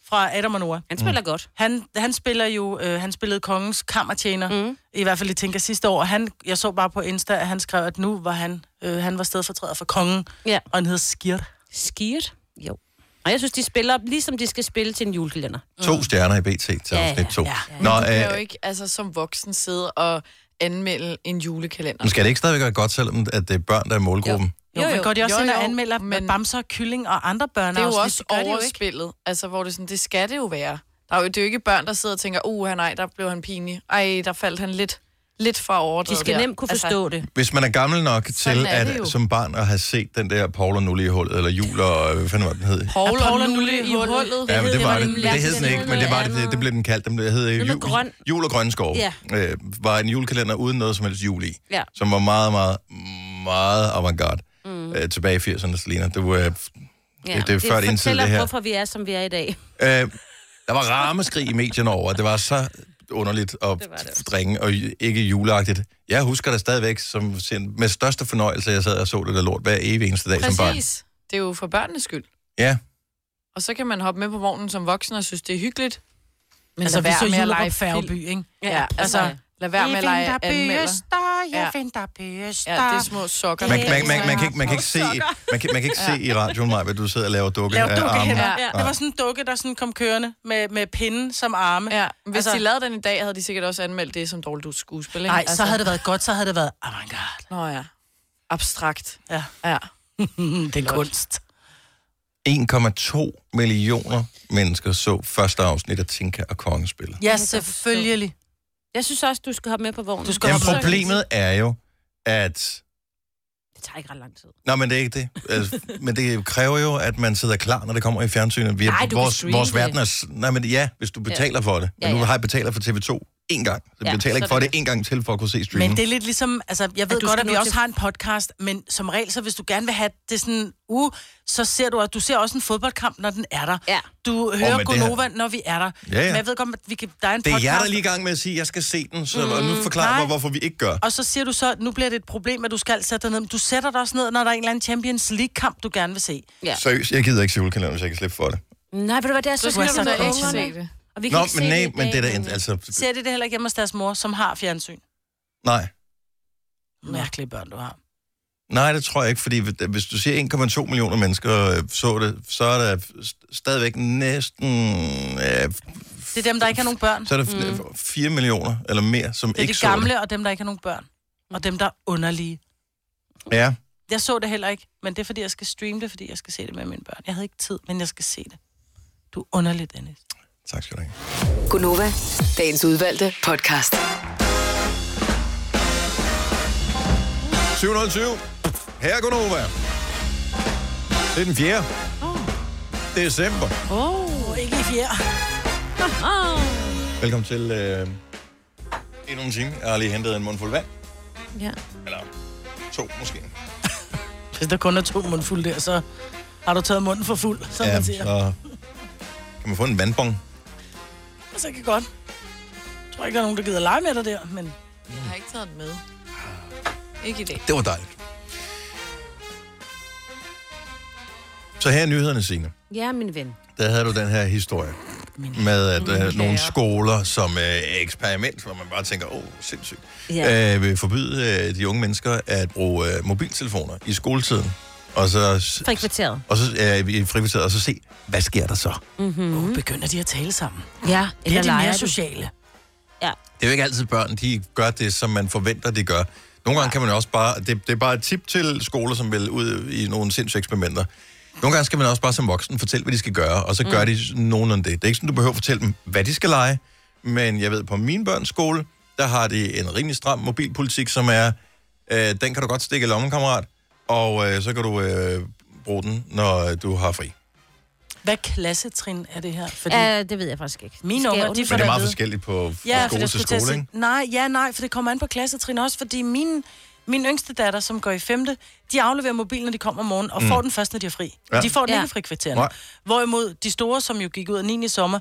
Speaker 4: fra Adam og Noah.
Speaker 5: Han spiller mm. godt.
Speaker 4: Han, han spiller jo, øh, han spillede kongens kammertjener, mm. i hvert fald i tænker sidste år. Og Han, jeg så bare på Insta, at han skrev, at nu var han, øh, han var stedfortræder for kongen,
Speaker 5: Ja.
Speaker 4: og han hed Skirt.
Speaker 5: Skirt? Jo. Og jeg synes, de spiller, ligesom de skal spille til en julekalender.
Speaker 1: to stjerner i BT til
Speaker 5: Mm. Ja,
Speaker 1: afsnit
Speaker 5: ja,
Speaker 1: 2.
Speaker 5: ja.
Speaker 1: Nå,
Speaker 3: Jeg kan jo
Speaker 1: øh,
Speaker 3: ikke altså, som voksen sidde og anmelde en julekalender.
Speaker 1: men skal det ikke stadigvæk være godt, selvom at det er børn, der er i målgruppen?
Speaker 4: Jo, jo, jo. Går de også
Speaker 3: Jo,
Speaker 4: ind og
Speaker 3: jo,
Speaker 4: anmelder men...
Speaker 3: men-
Speaker 4: Bamser, Kylling og andre børn?
Speaker 3: Det er jo også overspillet, altså hvor det er sådan, det skal det jo være. Der er jo, det er jo ikke børn, der sidder og tænker, uh, nej, der blev han pinlig. Ej, der faldt han lidt, lidt fra
Speaker 5: De
Speaker 3: overdrevet
Speaker 5: skal
Speaker 3: der."
Speaker 5: nemt kunne
Speaker 3: Altså,
Speaker 5: forstå altså, det.
Speaker 1: Hvis man er gammel nok til
Speaker 3: Sådan er det
Speaker 1: at
Speaker 3: jo.
Speaker 1: som barn at have set den der Paul og Nulle i hullet, eller Jul og øh, hvad fanden var den hed?
Speaker 3: Paul
Speaker 4: Er
Speaker 3: og
Speaker 4: Paul og
Speaker 3: Nulle
Speaker 4: Nulle
Speaker 3: i
Speaker 4: i hullet?
Speaker 3: hullet.
Speaker 1: Ja, men det var
Speaker 5: den
Speaker 1: det.
Speaker 5: nemlig?
Speaker 1: Det hed den
Speaker 5: Den
Speaker 1: ikke,
Speaker 5: hed
Speaker 1: men det var
Speaker 5: noget
Speaker 1: det, det, det blev den kaldt. Den hed øh,
Speaker 5: Noget med
Speaker 1: jul,
Speaker 5: grøn.
Speaker 1: jul og grønne skov.
Speaker 5: Ja.
Speaker 1: Øh, var en julekalender uden noget som helst jul i.
Speaker 5: Ja.
Speaker 1: Som var meget, meget, meget avantgarde. Mm. Øh, tilbage i 80'erne, Selina. Det var, øh,
Speaker 5: Ja.
Speaker 1: det er før din tid,
Speaker 5: fortæller,
Speaker 1: det her.
Speaker 5: hvorfor vi er, som vi er i dag.
Speaker 1: øh, der var rammeskrig i medierne over. Det var så underligt og
Speaker 5: Det var det også.
Speaker 1: drenge og ju- ikke juleagtigt. Jeg husker det stadigvæk som sin, med største fornøjelse, jeg sad og så det der lort hver evig eneste dag som barn.
Speaker 3: Præcis. Det er jo for børnenes skyld.
Speaker 1: Ja,
Speaker 3: Og så kan man hoppe med på vognen som voksen og synes, det er hyggeligt. Men
Speaker 4: Altså,
Speaker 3: altså,
Speaker 4: vi
Speaker 3: lad
Speaker 4: så
Speaker 3: være med at
Speaker 4: Jullerup
Speaker 3: lege
Speaker 4: Færgeby,
Speaker 3: film.
Speaker 4: ikke?
Speaker 3: Ja, altså, lad være med at lege anmelder.
Speaker 4: jeg
Speaker 3: Ja.
Speaker 4: finder bøster.
Speaker 3: Ja, det er små sokker.
Speaker 1: man,
Speaker 5: Det
Speaker 1: man, man,
Speaker 5: er
Speaker 1: man,
Speaker 5: så
Speaker 1: man, kan, ikke, man, kan ikke se, man, kan, man kan ikke se i radioen, mig, hvad du sidder og laver dukke
Speaker 4: Lav
Speaker 1: af armen.
Speaker 4: dukkehænder.
Speaker 3: Ja.
Speaker 4: Ja. Det var sådan en dukke, der sådan kom kørende med, med pinden som arme.
Speaker 3: Ja, hvis
Speaker 4: Altså-
Speaker 3: altså, de lavede den i dag, havde de sikkert også anmeldt det som dårligt skuespil, ikke? Altså,
Speaker 4: Nej, så havde det været godt, så havde det været avantgarde.
Speaker 3: [LAUGHS] Nå ja, abstrakt.
Speaker 4: Ja.
Speaker 3: Ja.
Speaker 4: Mm, det er kunst.
Speaker 1: 1,2 millioner mennesker så første afsnit af Tinka og Kongespillet.
Speaker 4: Ja, selvfølgelig.
Speaker 5: Jeg synes også, du skal hoppe med på vognen.
Speaker 4: Du skal
Speaker 1: Jamen
Speaker 4: hoppe med.
Speaker 1: problemet er jo, at...
Speaker 5: Det tager ikke ret lang tid.
Speaker 1: Nå, men det er ikke det. Altså, men det kræver jo, at man sidder klar, når det kommer i fjernsynet. Vi er,
Speaker 5: Nej, du kan
Speaker 1: vores,
Speaker 5: streame
Speaker 1: vores
Speaker 5: det.
Speaker 1: verden er... s- Nej, men ja, hvis du betaler for det. Men
Speaker 5: Ja,
Speaker 1: nu
Speaker 5: ja.
Speaker 1: har jeg betalt for TV2 én gang. Så jeg
Speaker 5: Ja,
Speaker 1: betaler ikke
Speaker 5: så
Speaker 1: for
Speaker 5: er
Speaker 1: det
Speaker 5: det
Speaker 1: én gang til for at kunne se streamen.
Speaker 4: Men det er lidt ligesom, altså, jeg ved
Speaker 5: At du
Speaker 4: godt, at
Speaker 5: skal
Speaker 4: vi
Speaker 5: nå
Speaker 4: også
Speaker 5: til-
Speaker 4: har en podcast, men som regel, så hvis du gerne vil have det sådan, uh, så ser du, at du ser også en fodboldkamp, når den er der.
Speaker 5: Ja.
Speaker 4: Du hører
Speaker 1: men det her-
Speaker 4: Gonova, når vi er der.
Speaker 1: Ja, ja.
Speaker 4: Men jeg ved godt, at vi kan, der er en
Speaker 1: det er
Speaker 4: podcast,
Speaker 1: jer, der er lige i gang med at sige, at jeg skal se den, så og nu forklarer
Speaker 4: nej.
Speaker 1: mig, hvorfor vi ikke gør.
Speaker 4: og så siger du så, at nu bliver det et problem, at du skal sætte dig ned. Men du sætter dig også ned, når der er en eller anden Champions League-kamp, du gerne vil se.
Speaker 5: Ja.
Speaker 1: Seriøst, jeg gider ikke se julekalenderen, hvis jeg kan slippe for det.
Speaker 5: Nej, ved du hvad, det er så
Speaker 3: Så skal
Speaker 5: svært
Speaker 3: du
Speaker 5: med
Speaker 3: da ikke se
Speaker 5: ungerne.
Speaker 3: det.
Speaker 5: Og vi kan
Speaker 1: Nå,
Speaker 5: ikke
Speaker 1: men
Speaker 5: se
Speaker 1: nej,
Speaker 5: det i
Speaker 1: men
Speaker 5: dag,
Speaker 1: det er da...
Speaker 5: men-
Speaker 1: Altså,
Speaker 4: Ser de det heller ikke hjemme hos deres mor, som har fjernsyn?
Speaker 1: nej.
Speaker 4: Mærkelige børn, du har.
Speaker 1: Nej, det tror jeg ikke, fordi hvis du siger 1,2 millioner mennesker øh, så det, så er der st- stadigvæk næsten... Øh,
Speaker 4: Det er dem, der ikke har nogen børn.
Speaker 1: så er der mm. 4 millioner eller mere, som
Speaker 4: Det er
Speaker 1: ikke
Speaker 4: de
Speaker 1: så
Speaker 4: gamle, og dem, der ikke har nogen børn. Og dem, der er underlige.
Speaker 1: det. Ja,
Speaker 4: Jeg så det heller ikke, men det er, fordi jeg skal streame det, fordi jeg skal se det med mine børn. Jeg havde ikke tid, men jeg skal se det. Du er underlig, Dennis.
Speaker 1: tak skal du have.
Speaker 2: Gunova, dagens udvalgte podcast.
Speaker 1: 720. Her er Gunova. Det er den 4. Oh. December.
Speaker 4: Oh, ikke i fjerde.
Speaker 1: Velkommen til øh, endnu en time. Jeg har lige hentet en mundfuld vand.
Speaker 5: Ja.
Speaker 1: Eller to måske.
Speaker 4: Hvis der kun er to mundfulde der, så har du taget munden for fuld, som ja, man siger. Så.
Speaker 1: så kan man få en vandbong.
Speaker 4: så kan godt. Jeg tror ikke, der er nogen, der gider lege med dig der, men...
Speaker 3: Jeg har ikke taget den med. Ikke i dag.
Speaker 1: Det var dejligt. Så her er nyhederne, Signe.
Speaker 5: Ja, min ven.
Speaker 1: Der havde du den her historie med at øh, nogle skoler som øh, eksperiment, hvor man bare tænker, åh, sindssygt,
Speaker 5: Ja.
Speaker 1: øh, vil forbyde øh, de unge mennesker at bruge øh, mobiltelefoner i skoletiden. Og så, s-
Speaker 5: Fra kvarteret.
Speaker 1: og så øh, i frikvarteret, og så se, hvad sker der så?
Speaker 4: Mm. Begynder de at tale sammen?
Speaker 5: Ja,
Speaker 4: Det
Speaker 5: eller
Speaker 4: er de
Speaker 5: leger
Speaker 4: mere
Speaker 5: du?
Speaker 4: sociale.
Speaker 5: Ja.
Speaker 1: Det er jo ikke altid børn, de gør det, som man forventer, de gør. Nogle gange kan man også bare... Det, det er bare et tip til skoler, som vil ud i nogle sindssyge eksperimenter. Nogle gange skal man også bare som voksen fortælle, hvad de skal gøre, og så gør mm. de nogenlunde det. Det er ikke sådan, du behøver at fortælle dem, hvad de skal lege, men jeg ved, på min børns skole, der har de en rimelig stram mobilpolitik, som er, øh, den kan du godt stikke i lommen, kammerat, og øh, så kan du øh, bruge den, når øh, du har fri.
Speaker 4: Hvad klassetrin er det her? Fordi...
Speaker 5: ja, det ved jeg faktisk ikke.
Speaker 4: Mine
Speaker 5: Skal jeg
Speaker 4: unger, de
Speaker 5: undersøge?
Speaker 1: Men det er
Speaker 4: da
Speaker 1: meget
Speaker 4: vide.
Speaker 1: forskelligt på fra
Speaker 4: Ja, for
Speaker 1: skole
Speaker 4: jeg
Speaker 1: til
Speaker 4: skulle til at
Speaker 1: skole,
Speaker 4: sige,
Speaker 1: ikke?
Speaker 4: nej, ja, nej, for det kommer an på klassetrin også, fordi min, min yngste datter, som går i femte, de afleverer mobilen, når de kommer om morgenen, og mm. får den først, når de er fri.
Speaker 1: Ja.
Speaker 4: Ja. De får den
Speaker 5: Ja.
Speaker 4: ja. ikke i frikvartererne.
Speaker 1: Nej.
Speaker 4: Hvorimod de store, som jo gik ud af 9. i sommer,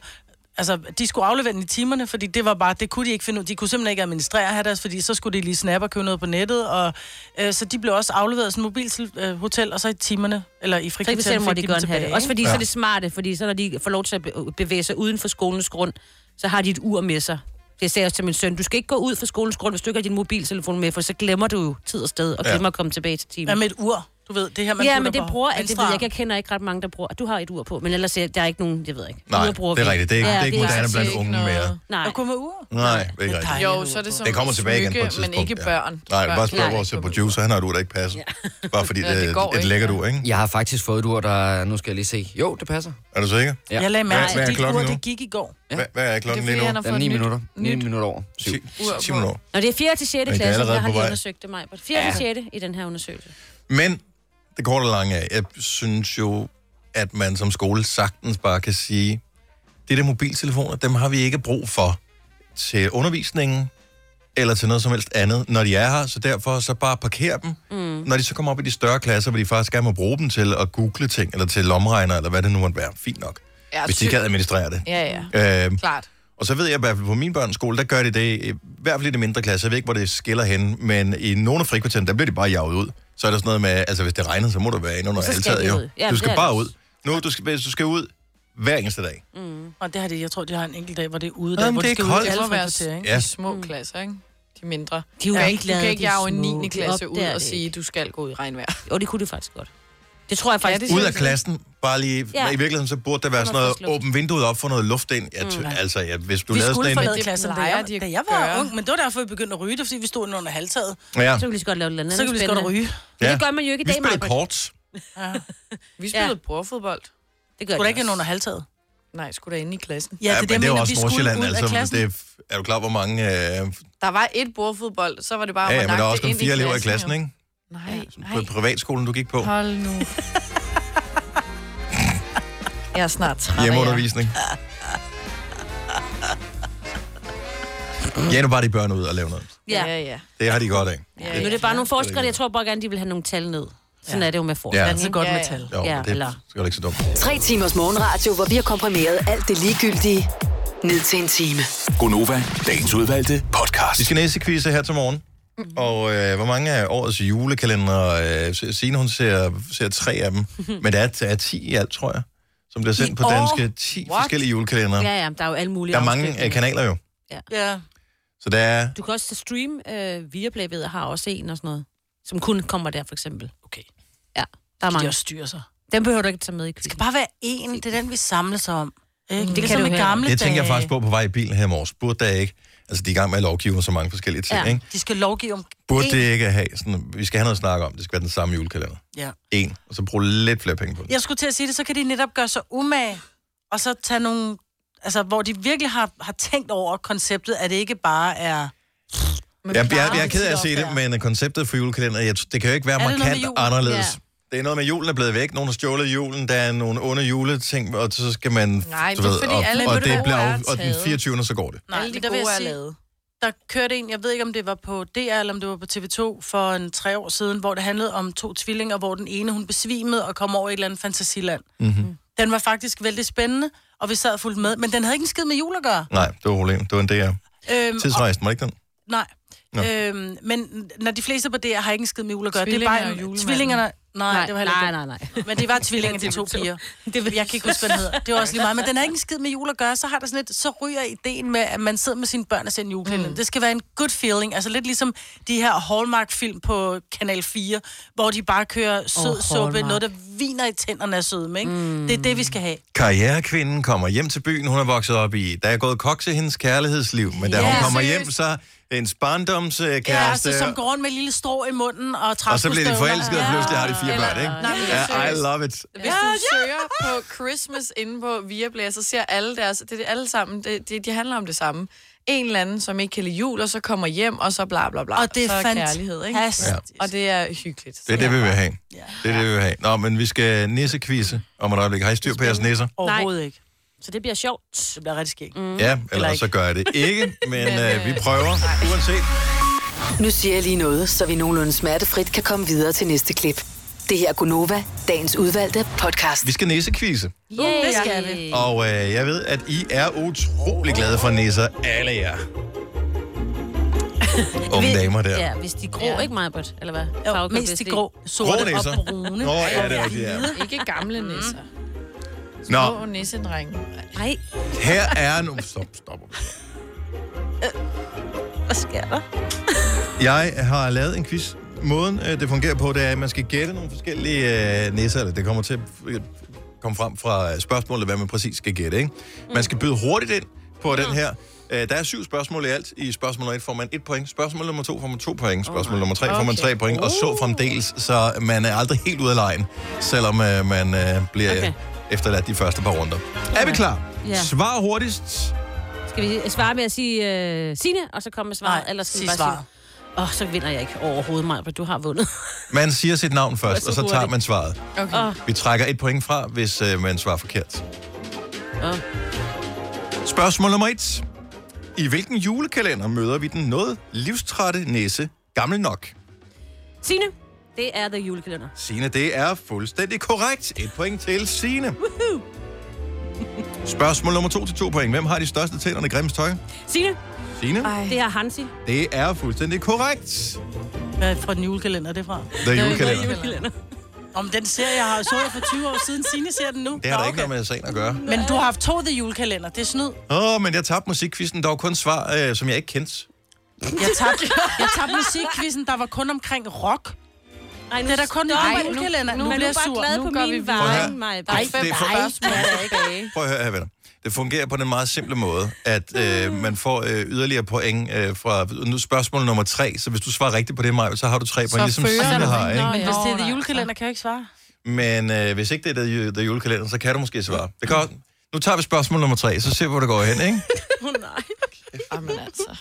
Speaker 4: altså, de skulle aflevere den i timerne, fordi det var bare, det kunne de ikke finde ud. De kunne simpelthen ikke administrere her deres, fordi så skulle de lige snappe og købe noget på nettet, og øh, så de blev også afleveret som mobilhotel, og så i timerne, eller i
Speaker 5: Så ikke
Speaker 4: frikvarterne
Speaker 5: selv må
Speaker 4: fik de
Speaker 5: de
Speaker 4: dem
Speaker 5: godt have
Speaker 4: tilbage.
Speaker 5: det.
Speaker 4: ikke?
Speaker 5: Også fordi så er det smarte, fordi så når de får lov til at be- bevæge sig uden for skolens grund, så har de et ur med sig. Det sagde jeg også til min søn. Du skal ikke gå ud for skolens grund, hvis du ikke har din mobiltelefon med, for så glemmer du jo tid og sted, og
Speaker 1: Ja.
Speaker 5: glemmer at komme tilbage til timen.
Speaker 4: Hvad med et ur? Du ved, det her, man
Speaker 5: ja,
Speaker 4: putter
Speaker 5: men det
Speaker 4: på
Speaker 5: bruger, at det
Speaker 4: venstre
Speaker 5: ved jeg
Speaker 4: arm.
Speaker 5: ikke. Jeg kender ikke ret mange, der bruger. Du har et ur på, men ellers er der er ikke nogen, jeg ved ikke.
Speaker 1: Nej,
Speaker 5: Ure bruger
Speaker 1: det er
Speaker 5: vi
Speaker 1: rigtigt. Det er ikke- det er ikke
Speaker 5: det
Speaker 1: moderne
Speaker 5: altså
Speaker 1: blandt
Speaker 5: ikke-
Speaker 1: unge mere.
Speaker 5: Nej.
Speaker 4: Og kunne med ur?
Speaker 1: Nej, det er ikke rigtigt.
Speaker 3: Jo, så er det som
Speaker 1: Det kommer tilbage igen på et
Speaker 3: smykke,
Speaker 1: tidspunkt.
Speaker 3: men ikke
Speaker 1: ja.
Speaker 3: børn.
Speaker 1: Nej,
Speaker 3: Børn
Speaker 1: bare spørg
Speaker 3: kan
Speaker 1: vores
Speaker 3: ikke få
Speaker 1: producer, han har et ur, der ikke passer. Ja. Bare fordi
Speaker 3: [LAUGHS] Ja,
Speaker 1: det,
Speaker 3: det
Speaker 1: det
Speaker 3: går
Speaker 1: er et
Speaker 3: ikke,
Speaker 1: lækkert
Speaker 3: ja.
Speaker 1: ur, ikke?
Speaker 8: Jeg har faktisk fået et ur, der... Nu skal jeg lige se. Jo, det passer.
Speaker 1: Er du sikker?
Speaker 8: Ja.
Speaker 4: Jeg lagde
Speaker 1: Hvad-
Speaker 4: mærke til,
Speaker 1: hvad er
Speaker 4: at dit
Speaker 1: klokken
Speaker 4: ur,
Speaker 1: nu?
Speaker 4: det gik i går.
Speaker 8: Ja.
Speaker 1: Hvad, hvad er
Speaker 3: Det er
Speaker 1: klokken
Speaker 3: fordi,
Speaker 1: lige nu?
Speaker 3: han har
Speaker 8: Den er
Speaker 3: fået
Speaker 8: 9
Speaker 3: nyt-
Speaker 8: minutter. 9
Speaker 3: nyt
Speaker 8: minutter over. 7.
Speaker 1: Ti-
Speaker 3: ur
Speaker 1: ti
Speaker 3: på.
Speaker 1: minutter. over.
Speaker 5: Nå, det er 4. til
Speaker 1: Men
Speaker 5: 6.
Speaker 1: det er
Speaker 5: klasse,
Speaker 1: allerede
Speaker 5: jeg har
Speaker 1: på vej.
Speaker 5: lige undersøgt det mig. 4. til 6. i den her undersøgelse.
Speaker 1: Men det korte og lange er, jeg synes jo, at man som skole sagtens bare kan sige, det der mobiltelefoner, dem har vi ikke brug for til undervisningen, eller til noget som helst andet, når de er her, så derfor så bare parker dem. Mm. Når de så kommer op i de større klasser, hvor de faktisk gerne må bruge dem til at google ting, eller til lomregner, eller hvad det nu måtte være. Fint nok,
Speaker 3: Ja,
Speaker 1: hvis de
Speaker 3: ty- Mm.
Speaker 1: kan administrere det.
Speaker 3: Ja, ja.
Speaker 1: Øhm,
Speaker 3: Klart.
Speaker 1: Og så ved jeg i hvert fald på min børns skole, der gør de det, i hvert fald i de mindre klasser, jeg ved ikke, hvor det skiller hen, men i nogle af frikvartererne, der bliver de bare jaget ud. Så er der sådan noget med, altså hvis det regner, så må du være inde under
Speaker 5: Så skal
Speaker 1: altaget
Speaker 5: de
Speaker 1: jo.
Speaker 5: ud. Ja,
Speaker 1: du
Speaker 5: det
Speaker 1: skal
Speaker 5: er
Speaker 1: bare
Speaker 5: det
Speaker 1: ud.
Speaker 5: også.
Speaker 1: Nu, du skal, hvis du skal ud hver eneste dag.
Speaker 4: Og det har de, jeg tror, de har en enkelt dag, hvor det er ude, der,
Speaker 1: Jamen,
Speaker 4: hvor
Speaker 1: det
Speaker 4: de
Speaker 1: er
Speaker 4: skal ud
Speaker 1: koldt.
Speaker 4: i
Speaker 3: Det må
Speaker 4: alvor
Speaker 3: være
Speaker 4: til, ikke?
Speaker 1: Ja.
Speaker 3: de små klasser, ikke? Mm. De mindre.
Speaker 5: De er jo
Speaker 3: Du kan ikke,
Speaker 5: ligeglade,
Speaker 3: du kan ikke
Speaker 5: de er
Speaker 3: jage en
Speaker 5: små.
Speaker 3: 9.
Speaker 5: De
Speaker 3: klasse ud
Speaker 5: opdager
Speaker 3: og
Speaker 5: det
Speaker 3: sige,
Speaker 5: ikke.
Speaker 3: du skal gå i regnvejr.
Speaker 5: Jo, det kunne de faktisk godt. Det tror jeg faktisk,
Speaker 3: det
Speaker 5: det
Speaker 1: Ud af klassen, bare lige, ja.
Speaker 5: Ja.
Speaker 1: i virkeligheden, så burde der være sådan
Speaker 5: Under
Speaker 1: noget,
Speaker 5: frisk luft.
Speaker 1: åbne vinduet op, for noget luft ind. Jeg ty- altså, ja, hvis du
Speaker 4: Vi
Speaker 1: lavede
Speaker 4: skulle
Speaker 1: sådan en...
Speaker 4: forlade
Speaker 3: Det
Speaker 4: klassen, da
Speaker 3: plejer
Speaker 4: jeg,
Speaker 3: de at
Speaker 4: da jeg var
Speaker 3: gøre.
Speaker 4: ung, men det var derfor, vi begyndte at ryge, det var, fordi vi stod inde under halvtaget.
Speaker 1: Ja,
Speaker 5: så kan vi lige så godt lave et eller andet.
Speaker 4: Så kan vi lige så godt
Speaker 5: spændende.
Speaker 4: ryge.
Speaker 5: Men
Speaker 1: ja.
Speaker 5: Det gør man jo ikke i
Speaker 1: Vi
Speaker 5: dag,
Speaker 1: spiller
Speaker 5: Maj-Brit.
Speaker 1: kort.
Speaker 3: Vi spillede ja. bordfodbold.
Speaker 5: Det gør
Speaker 4: Skulle der
Speaker 5: det
Speaker 4: ikke
Speaker 5: ikke
Speaker 4: ind under halvtaget?
Speaker 3: Nej, skulle da inde i klassen.
Speaker 1: Ja, men det er jo også
Speaker 4: vi skulle
Speaker 1: Nordsjælland,
Speaker 4: ud af
Speaker 1: altså.
Speaker 4: klassen.
Speaker 1: Det er, er du klar, hvor mange... Øh, ja,
Speaker 3: Der var et bordfodbold, så var det bare om
Speaker 1: ja, men
Speaker 3: at
Speaker 1: der er
Speaker 3: nakke
Speaker 1: også kun
Speaker 3: det ind
Speaker 1: fire elever i klassen,
Speaker 3: jo.
Speaker 1: ikke?
Speaker 3: Nej,
Speaker 1: På
Speaker 3: nej.
Speaker 1: privatskolen, du gik på.
Speaker 3: Hold nu. [LAUGHS] Jeg er snart træt af jer.
Speaker 1: Hjemmeundervisning. Ja, nu bare de børn ud og lave noget.
Speaker 5: Ja.
Speaker 3: Ja, ja.
Speaker 1: Det har de godt af.
Speaker 5: Ja, nu er det bare nogle forskere, jeg tror bare gerne, de vil have nogle tal ned. Sådan ja. er det jo med forskere.
Speaker 1: Ja.
Speaker 5: Ja.
Speaker 4: Det er godt
Speaker 3: Ja,
Speaker 4: med
Speaker 3: ja.
Speaker 4: tal.
Speaker 1: Jo,
Speaker 5: Ja,
Speaker 1: ja, det
Speaker 5: eller-
Speaker 1: skal jo ikke så dumt.
Speaker 2: Tre timers morgenradio, hvor vi har komprimeret alt det ligegyldige ned til en time.
Speaker 7: Gonova, dagens udvalgte podcast.
Speaker 1: Vi skal næse quizze her til morgen. Og øh, hvor mange af årets julekalendere, øh, Signe hun ser, ser tre af dem, men der er, der er ti i alt, tror jeg, som bliver sendt på
Speaker 4: år?
Speaker 1: danske. Ti
Speaker 4: What?
Speaker 1: forskellige julekalendere.
Speaker 5: ja, ja, men der er jo alle mulige
Speaker 1: Der er mange øh,
Speaker 5: afskygninger.
Speaker 1: kanaler jo,
Speaker 4: Ja.
Speaker 1: så der er
Speaker 5: Du kan også streame øh, via Playbedet har også en og sådan noget, som kun kommer der for eksempel.
Speaker 4: Okay.
Speaker 5: Ja, der er
Speaker 4: De
Speaker 5: mange.
Speaker 4: også styrer sig.
Speaker 5: Den behøver du ikke tage med i
Speaker 4: Det
Speaker 5: quizzen.
Speaker 4: skal bare være én. Det er den, vi samles om. Ikke? Det,
Speaker 5: kan
Speaker 4: det kan
Speaker 5: du
Speaker 4: du
Speaker 5: heller.
Speaker 4: gamle
Speaker 1: Det tænker jeg
Speaker 4: dage.
Speaker 1: faktisk på på vej i bilen her i morges. Burde der ikke... Altså, de er i gang med at lovgive om så mange forskellige ting, ja.
Speaker 5: Ja.
Speaker 1: ikke?
Speaker 4: De skal lovgive om...
Speaker 1: Burde
Speaker 4: én.
Speaker 1: det ikke have sådan... Vi skal have noget at snakke om. Det skal være den samme julekalender.
Speaker 4: Ja.
Speaker 1: En. Og så bruge lidt flere penge på det.
Speaker 4: Jeg skulle til at sige det, så kan de netop gøre sig umage, og så tage nogle... Altså, hvor de virkelig har, har tænkt over konceptet, at det ikke bare er...
Speaker 1: Jeg, jeg, jeg, er
Speaker 4: det
Speaker 1: ked af at se
Speaker 4: tit
Speaker 1: det,
Speaker 4: op der.
Speaker 1: men konceptet for julekalender, jeg, det kan jo ikke være
Speaker 4: Er det noget med
Speaker 1: markant
Speaker 4: julen?
Speaker 1: anderledes.
Speaker 5: Ja.
Speaker 1: Det er noget med, at julen er blevet væk. Nogen har stjålet julen. Der er nogle onde juleting, og så skal man...
Speaker 3: Nej,
Speaker 1: du
Speaker 3: det er
Speaker 1: ved,
Speaker 3: fordi
Speaker 1: og,
Speaker 3: alle
Speaker 1: og,
Speaker 3: mødte
Speaker 1: det
Speaker 3: ord
Speaker 1: bliver,
Speaker 3: er
Speaker 1: jo- og den
Speaker 3: taget.
Speaker 1: 24. så går det.
Speaker 4: Nej,
Speaker 3: Alle de
Speaker 4: men der vil
Speaker 3: gode
Speaker 4: jeg
Speaker 3: er
Speaker 4: sige-
Speaker 3: lavet.
Speaker 4: Der kørte en, jeg ved ikke om det var på DR, eller om det var på TV2 for en tre år siden, hvor det handlede om to tvillinger, hvor den ene, hun besvimede og kom over i et eller andet fantasiland.
Speaker 3: Mhm.
Speaker 4: Mm-hmm. Den var faktisk vældig spændende, og vi sad og fulgte med, men den havde ikke en skid med jul at gøre.
Speaker 1: Nej, det var problemet. Det var en DR.
Speaker 4: Øhm, og,
Speaker 1: Tidsrejsen, var det ikke den?
Speaker 4: nej.
Speaker 1: Nå.
Speaker 4: Øhm, men når de fleste på DR har ikke en skid med jul at gøre, det er
Speaker 3: Tvillinger
Speaker 4: bare
Speaker 3: og julemanden.
Speaker 4: tvillingerne... Nej, nej, det var heller
Speaker 5: nej,
Speaker 4: ikke
Speaker 5: nej, nej.
Speaker 4: den. Men det var tvillinger, de to piger. Det ved jeg kan ikke huske, hvad den hedder. Det var også lige meget. Men den har ikke en skid med jul at gøre. Så har der sådan et, så ryger ideen med, at man sidder med sine børn og ser en julekalender. Mm. Det skal være en good feeling. Altså lidt ligesom de her Hallmark-film på Kanal 4, hvor de bare kører sød oh, suppe,
Speaker 5: Hallmark.
Speaker 4: noget, der viner i tænderne af sødme, ikke? Mm. Det er det, vi skal have.
Speaker 1: altså, Karrierekvinden kommer hjem til byen, hun er vokset op i. Der er gået koks i hendes kærlighedsliv, men da
Speaker 4: Ja,
Speaker 1: hun kommer
Speaker 4: seriøst.
Speaker 1: hjem, så er en barndomskæreste,
Speaker 4: Kæreste,
Speaker 3: altså,
Speaker 4: ja, som går rundt med et lille strå i munden og trækker
Speaker 1: og så bliver de forelskede, og pludselig har de fire
Speaker 3: Eller-
Speaker 1: børn,
Speaker 3: Nej, men det
Speaker 1: ikke?
Speaker 3: er
Speaker 1: Ja, I
Speaker 3: seriøst.
Speaker 1: love it.
Speaker 3: Hvis du søger på Christmas inde på Viaplay, så ser alle deres, det er det alle sammen, det, det, de handler om det samme. En eller anden, som ikke kan lide jul, og så kommer hjem, og så bla bla bla.
Speaker 4: Og det er
Speaker 3: så kærlighed, ikke?
Speaker 4: fantastisk.
Speaker 1: Ja.
Speaker 4: Ja.
Speaker 3: Og det er hyggeligt.
Speaker 1: Det er det, vi vil have. Det er det, vi vil have. Nå, men vi skal nissekvise om et øjeblik. Har I styr på jeres nisser?
Speaker 4: Overhovedet ikke.
Speaker 5: Så det bliver sjovt.
Speaker 4: Det bliver rigtig skægt. Mm.
Speaker 1: Ja, eller
Speaker 4: ikke.
Speaker 1: så gør jeg det ikke, men øh, vi prøver uanset.
Speaker 2: Nu siger jeg lige noget, så vi nogenlunde smertefrit kan komme videre til næste klip. Det her er Gunova, dagens udvalgte podcast.
Speaker 1: Vi skal nissekvise,
Speaker 5: Yeah.
Speaker 4: det skal vi.
Speaker 1: og øh, jeg ved, at I er utrolig glade for nisser, alle jer. Unge damer der.
Speaker 5: Ja, hvis de er grå, ja. ikke mig, Britt? Eller hvad?
Speaker 4: Jo,
Speaker 5: Farvekomplet,
Speaker 4: mest de
Speaker 5: ikke?
Speaker 4: grå, sorte
Speaker 1: Grå nisser.
Speaker 4: og brune.
Speaker 1: Nå, ja, det er rigtigt, ja.
Speaker 3: Ikke gamle nisser.
Speaker 4: Mm.
Speaker 1: Nå,
Speaker 3: Små nissedrenge.
Speaker 5: Nej,
Speaker 1: Her er nu... Stop, stop, stop.
Speaker 4: Hvad sker der?
Speaker 1: Jeg har lavet en quiz. Måden, øh, det fungerer på, det er, at man skal gætte nogle forskellige øh, nisser. Eller det kommer til at øh, komme frem fra øh, spørgsmålet, hvad man præcis skal gætte. Ikke? Man skal byde hurtigt ind på den
Speaker 5: Mm.
Speaker 1: her. Øh, der er syv spørgsmål i alt. I spørgsmål nummer et får man et point. Spørgsmål nummer to får man to point. Spørgsmål nummer tre får man tre point. Og så fremdeles, så man er aldrig helt ude af lejen, selvom øh, man øh, bliver okay.
Speaker 5: Okay.
Speaker 1: efterladt de første par runder. Er vi klar?
Speaker 5: Ja.
Speaker 1: Svar hurtigst.
Speaker 5: skal vi svare med at sige øh, Signe, og så komme med svaret?
Speaker 4: Nej,
Speaker 5: eller skal vi
Speaker 4: sig
Speaker 5: bare
Speaker 4: svaret.
Speaker 5: Åh, oh, så vinder jeg ikke overhovedet mig, Britt. Du har vundet. [LAUGHS]
Speaker 1: Man siger sit navn først,
Speaker 5: så
Speaker 1: og så tager
Speaker 5: hurtigt.
Speaker 1: man svaret.
Speaker 3: Okay.
Speaker 5: Åh.
Speaker 1: Vi trækker et point fra, hvis øh, man svarer forkert.
Speaker 5: Åh.
Speaker 1: Spørgsmål nummer et. I hvilken julekalender møder vi den noget livstrætte næse gammel nok?
Speaker 5: Signe, det er The Julekalender.
Speaker 1: Signe, det er fuldstændig korrekt. Et point til Signe. [LAUGHS] Spørgsmål nummer to til to point. Hvem har de største tænder og grimmest tøj?
Speaker 5: Signe,
Speaker 1: Signe?
Speaker 3: Ej.
Speaker 5: det her Hansi.
Speaker 1: Det er fuldstændig korrekt.
Speaker 4: Hvad er fra den julekalender, det er fra?
Speaker 1: Det er julekalender.
Speaker 4: Om den serie, jeg har så jeg for 20 år siden. Signe ser den nu.
Speaker 1: Det har da ikke noget med sagen at gøre.
Speaker 4: Men du har haft to The Julekalender. Det er snyd.
Speaker 1: Åh, men jeg tabte musikquizzen. Der var kun svar, øh, som jeg ikke kendte.
Speaker 4: Jeg tabte, jeg tabte musikkvisten, der var kun omkring rock.
Speaker 5: Ej, nu
Speaker 4: Det er da kun
Speaker 5: stop.
Speaker 4: en
Speaker 5: nu,
Speaker 4: julekalender.
Speaker 5: nu,
Speaker 4: Nu
Speaker 5: nu
Speaker 4: bliver
Speaker 5: bliver
Speaker 4: jeg
Speaker 5: bare
Speaker 4: sur.
Speaker 5: glad
Speaker 4: Nu
Speaker 5: på
Speaker 4: gør vi
Speaker 5: min
Speaker 4: videre.
Speaker 1: Prøv at høre.
Speaker 5: vejen, Maja.
Speaker 3: Der er
Speaker 5: Nej,
Speaker 3: fem
Speaker 1: det er for-
Speaker 3: spørgsmål, der ikke er
Speaker 1: Prøv at høre her, venner. Det fungerer på den meget simple måde, at øh, man får øh, yderligere point øh, fra nu spørgsmål nummer tre. Så hvis du svarer rigtigt på det, Maja, så har du tre point, ligesom Signe har. Ikke?
Speaker 4: Men hvis det er
Speaker 3: Nå,
Speaker 4: The
Speaker 3: nej,
Speaker 4: Julekalender, kan jeg ikke svare.
Speaker 1: Men øh, hvis ikke det er The- The Julekalender, så kan du måske svare. Det kan også. Nu tager vi spørgsmål nummer tre, så ser vi, hvor det går hen, ikke?
Speaker 3: Jamen altså.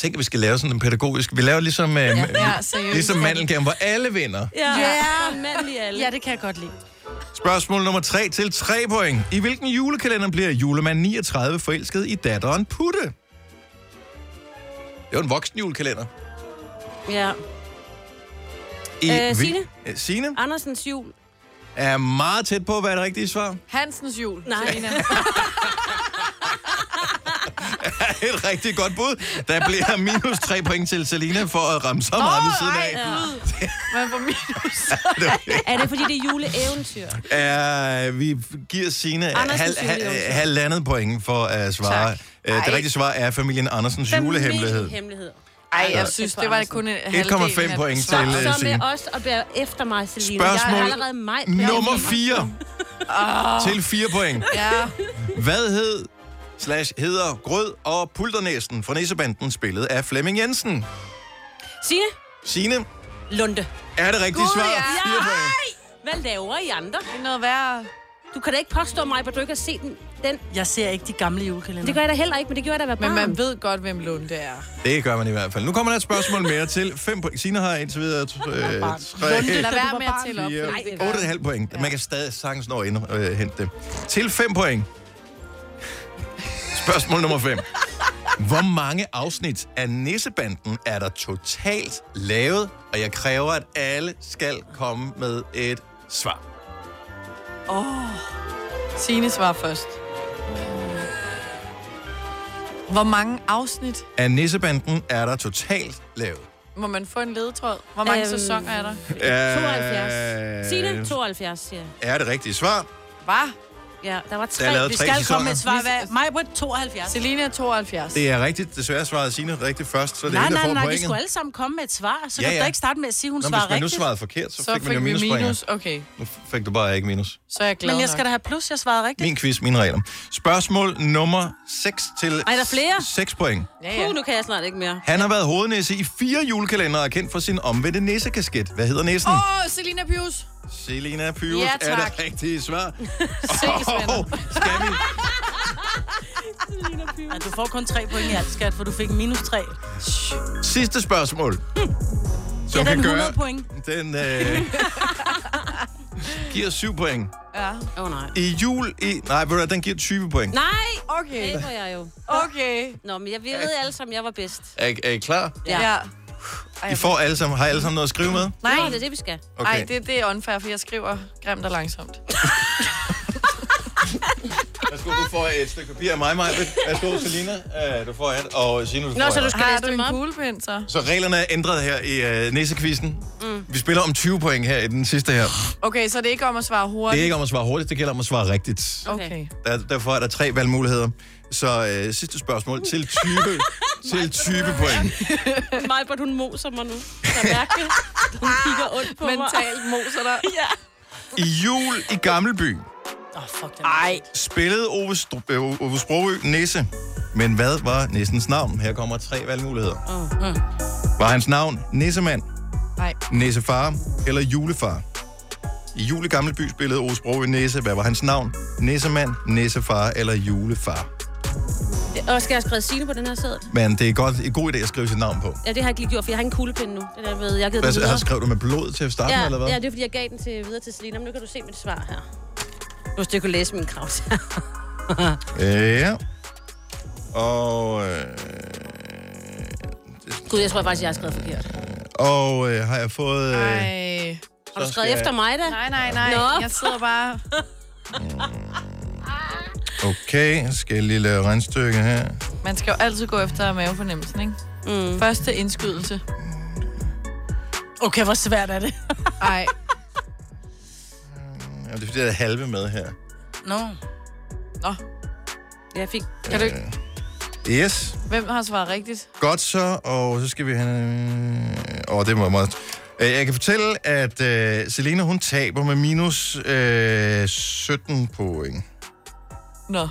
Speaker 1: Tænk, at vi skal lave sådan en pædagogisk... Vi laver ligesom, øh, ja,
Speaker 3: Ja, seriøst.
Speaker 1: ligesom mandelgaven, hvor alle vinder.
Speaker 5: Ja,
Speaker 4: Ja.
Speaker 5: yeah. mandlig alle.
Speaker 4: Ja, det kan jeg godt lide.
Speaker 1: Spørgsmål nummer 3 til 3 point. I hvilken julekalender bliver julemand 39 forelsket i datteren Putte? Det er jo en voksen julekalender.
Speaker 5: ja.
Speaker 1: I
Speaker 5: Øh,
Speaker 1: hvil-
Speaker 5: Signe?
Speaker 1: Øh, Signe
Speaker 5: Andersens jul.
Speaker 1: er meget tæt på, hvad er det rigtige svar? [LAUGHS]
Speaker 3: Hansens jul.
Speaker 5: Nej.
Speaker 3: Selina.
Speaker 1: Et rigtig godt bud. Der bliver minus 3 point til Selina for at ramme sammen oh, ved siden af.
Speaker 3: Man får minus.
Speaker 5: [LAUGHS] Er det, fordi det er juleeventyr?
Speaker 1: Uh, vi giver Signe
Speaker 5: Andersens
Speaker 1: hal, hal,
Speaker 5: julehemmelighed.
Speaker 1: halvandet point for at svare. Uh, det rigtige svar er familien Andersens [LAUGHS] julehemmelighed.
Speaker 5: Hemmelighed.
Speaker 3: Ej, jeg synes, det var kun en halvdel
Speaker 1: 1,5
Speaker 3: af
Speaker 1: point til
Speaker 3: svar.
Speaker 1: øh,
Speaker 5: Så
Speaker 1: Signe.
Speaker 5: med os og bær efter mig, Selina. Jeg
Speaker 1: Spørgsmål
Speaker 5: er allerede mig.
Speaker 1: nummer 4. Til 4 point.
Speaker 3: Ja,
Speaker 1: Hvad hed slash hedder Grød og Pulternæsten fra Nissebanden spillet af Flemming Jensen?
Speaker 5: Signe
Speaker 1: Signe,
Speaker 5: Lunde.
Speaker 1: er det rigtige
Speaker 3: Gud,
Speaker 1: svar?
Speaker 3: ja.
Speaker 1: Fire point.
Speaker 5: Hvad laver I andre?
Speaker 3: det er noget værre.
Speaker 5: Du kan da ikke påstå mig, at du ikke har set den. den.
Speaker 4: Jeg ser ikke de gamle julekalender.
Speaker 5: Det gør jeg da heller ikke, men det gjorde jeg da være
Speaker 3: Men
Speaker 5: barn.
Speaker 3: man ved godt, hvem Lunde er.
Speaker 1: Det gør man i hvert fald. Nu kommer der et spørgsmål mere til 5 point. Signe har indtil videre øh, 3,
Speaker 3: Lunde, lad være med at tælle op.
Speaker 1: 4,
Speaker 3: fordi det gør-
Speaker 1: 8,5 point. Man kan stadig sagtens nå at ind- øh, hente det. Til 5 point. Spørgsmål nummer 5. Hvor mange afsnit af Nissebanden er der totalt lavet? Og jeg kræver, at alle skal komme med et svar.
Speaker 3: Signe svarer først. Hvor mange afsnit
Speaker 1: Af Nissebanden er der totalt lavet.
Speaker 3: må man få en ledetråd? Hvor mange
Speaker 5: Øhm.
Speaker 3: sæsoner er der?
Speaker 5: 72.
Speaker 1: Øh.
Speaker 5: Signe, 72, siger jeg.
Speaker 1: Er det rigtige svar?
Speaker 3: Hvad?
Speaker 5: Ja, der var tre.
Speaker 1: Der er lavet
Speaker 4: Vi
Speaker 1: tre
Speaker 4: skal komme med
Speaker 1: sæsoner.
Speaker 4: et svar. Hvad? Mig på 72.
Speaker 3: Selina er 72.
Speaker 1: Det er rigtigt. Desværre svarede Signe rigtigt først, så det er
Speaker 4: Nej,
Speaker 1: hende, der
Speaker 4: nej,
Speaker 1: får
Speaker 4: nej, vi
Speaker 1: pointet.
Speaker 4: skulle alle sammen komme med et svar. Så
Speaker 1: Ja,
Speaker 4: ja, kan du
Speaker 1: ja.
Speaker 4: da ikke starte med at sige, at hun
Speaker 1: Nå, men
Speaker 4: svarer
Speaker 1: hvis man nu
Speaker 4: rigtigt.
Speaker 1: svarede forkert, så,
Speaker 3: Så
Speaker 1: fik man jo
Speaker 3: fik vi
Speaker 1: minuspoint.
Speaker 3: minus. Okay,
Speaker 1: Nu fik du bare ikke minus.
Speaker 3: så er jeg glad
Speaker 4: Men jeg skal da have plus, jeg svarede rigtigt.
Speaker 1: Min quiz, mine regler. Spørgsmål nummer 6 til
Speaker 5: Ej, der er flere.
Speaker 1: 6 point.
Speaker 3: Ja,
Speaker 5: Puh,
Speaker 3: ja.
Speaker 5: nu kan jeg snart ikke mere.
Speaker 1: Han har været hovednæse i fire julekalendere og er kendt for sin omvendte næsekasket. Hvad hedder næsen? Oh.
Speaker 3: Åh, oh, Selina Pius.
Speaker 1: Selina Pyrus
Speaker 3: Ja,
Speaker 1: er
Speaker 3: tak.
Speaker 1: det rigtige svar.
Speaker 3: Ses, venner.
Speaker 1: skal vi?
Speaker 4: Ja, du får kun tre point i alt, skat, for du fik minus tre.
Speaker 1: Sidste spørgsmål. Som
Speaker 4: den 100 point.
Speaker 1: Den øh, giver 7 point.
Speaker 3: Ja.
Speaker 5: Åh, oh, nej.
Speaker 1: I jul... I, nej, ved du hvad, den giver 20 point.
Speaker 5: Nej!
Speaker 3: Okay.
Speaker 5: Det var jeg jo.
Speaker 3: Okay.
Speaker 5: Nå, men jeg ved alle sammen, jeg var bedst.
Speaker 1: Er, I- er I klar?
Speaker 5: Ja.
Speaker 3: Ja.
Speaker 1: I får alle sammen, har I alle sammen noget at skrive med?
Speaker 5: Nej. Nå, det er det, vi skal.
Speaker 3: Okay. Ej, det, det er unfair, for jeg skriver grimt og langsomt.
Speaker 1: Værsgo, du får et stykke papir af mig, Maja. Værsgo, Selina. Øh, du får et, og Signe, du får et.
Speaker 5: skal
Speaker 3: Har
Speaker 5: læse
Speaker 3: du
Speaker 5: dem
Speaker 3: en
Speaker 5: op?
Speaker 3: kuglepind, så?
Speaker 1: Så reglerne er ændret her i øh, næsekvisten. Mm. Vi spiller om 20 point her i den sidste her.
Speaker 3: Okay, så det er ikke om at svare
Speaker 1: Det er
Speaker 3: hurtigt?
Speaker 1: ikke om at svare hurtigt, det gælder om at svare rigtigt.
Speaker 3: Okay.
Speaker 1: Der, derfor er der tre valgmuligheder. Så øh, sidste spørgsmål til 20, til 20 point.
Speaker 5: Majbert, hun moser mig nu. Jeg mærker det. Hun kigger ondt på mig.
Speaker 3: Mentalt moser dig.
Speaker 5: Ja.
Speaker 1: I jul i Gammelby
Speaker 4: Åh, oh, fuck den. Ej.
Speaker 1: spillede Ove, Stru- øh, Ove Sprogø Nisse. Men hvad var Nissens navn? Her kommer tre valgmuligheder. Var hans navn Nissemand,
Speaker 3: Nej.
Speaker 1: Nissefar eller Julefar? I jul i Gammelby spillede Ove Sprogø Nisse. Hvad var hans navn? Nissemand, Nissefar eller Julefar?
Speaker 5: Og skal jeg skrive Signe på den her sæde?
Speaker 1: Men det er godt, en god idé at skrive sit navn på.
Speaker 5: Ja, det har jeg ikke lige gjort, for jeg har en kuglepind nu. Det der ved, jeg har givet den
Speaker 1: Hvad, har
Speaker 5: videre.
Speaker 1: skrevet du med blod til at starte med, eller hvad?
Speaker 5: Ja, ja, det er fordi, jeg gav den til, videre til Selina, men nu kan du se mit svar her. Hvis du kunne læse min krav.
Speaker 1: Øh, ja. Og, øh,
Speaker 5: [LAUGHS] Gud, jeg tror faktisk, jeg har skrevet forkert.
Speaker 1: og øh, har jeg fået... Øh,
Speaker 3: Ej.
Speaker 5: Har du skrevet efter mig, da?
Speaker 3: Nej, nej, nej.
Speaker 5: Nå.
Speaker 3: Jeg sidder bare...
Speaker 1: Okay, skal jeg lige lave regnstykke her.
Speaker 3: Man skal jo altid gå efter mavefornemmelsen, ikke? Mm. Første indskydelse.
Speaker 4: Okay, hvor svært er det?
Speaker 3: Ej,
Speaker 1: Ja, det er fordi, der er halve med her.
Speaker 4: Nå.
Speaker 5: Jeg fik...
Speaker 3: kan du ikke...
Speaker 1: Yes,
Speaker 3: Hvem har svaret rigtigt?
Speaker 1: godt så, og så skal vi have... Åh, oh, det var meget... Øh, Jeg kan fortælle, at øh, Selena, hun taber med minus øh, 17 point.
Speaker 3: Nå.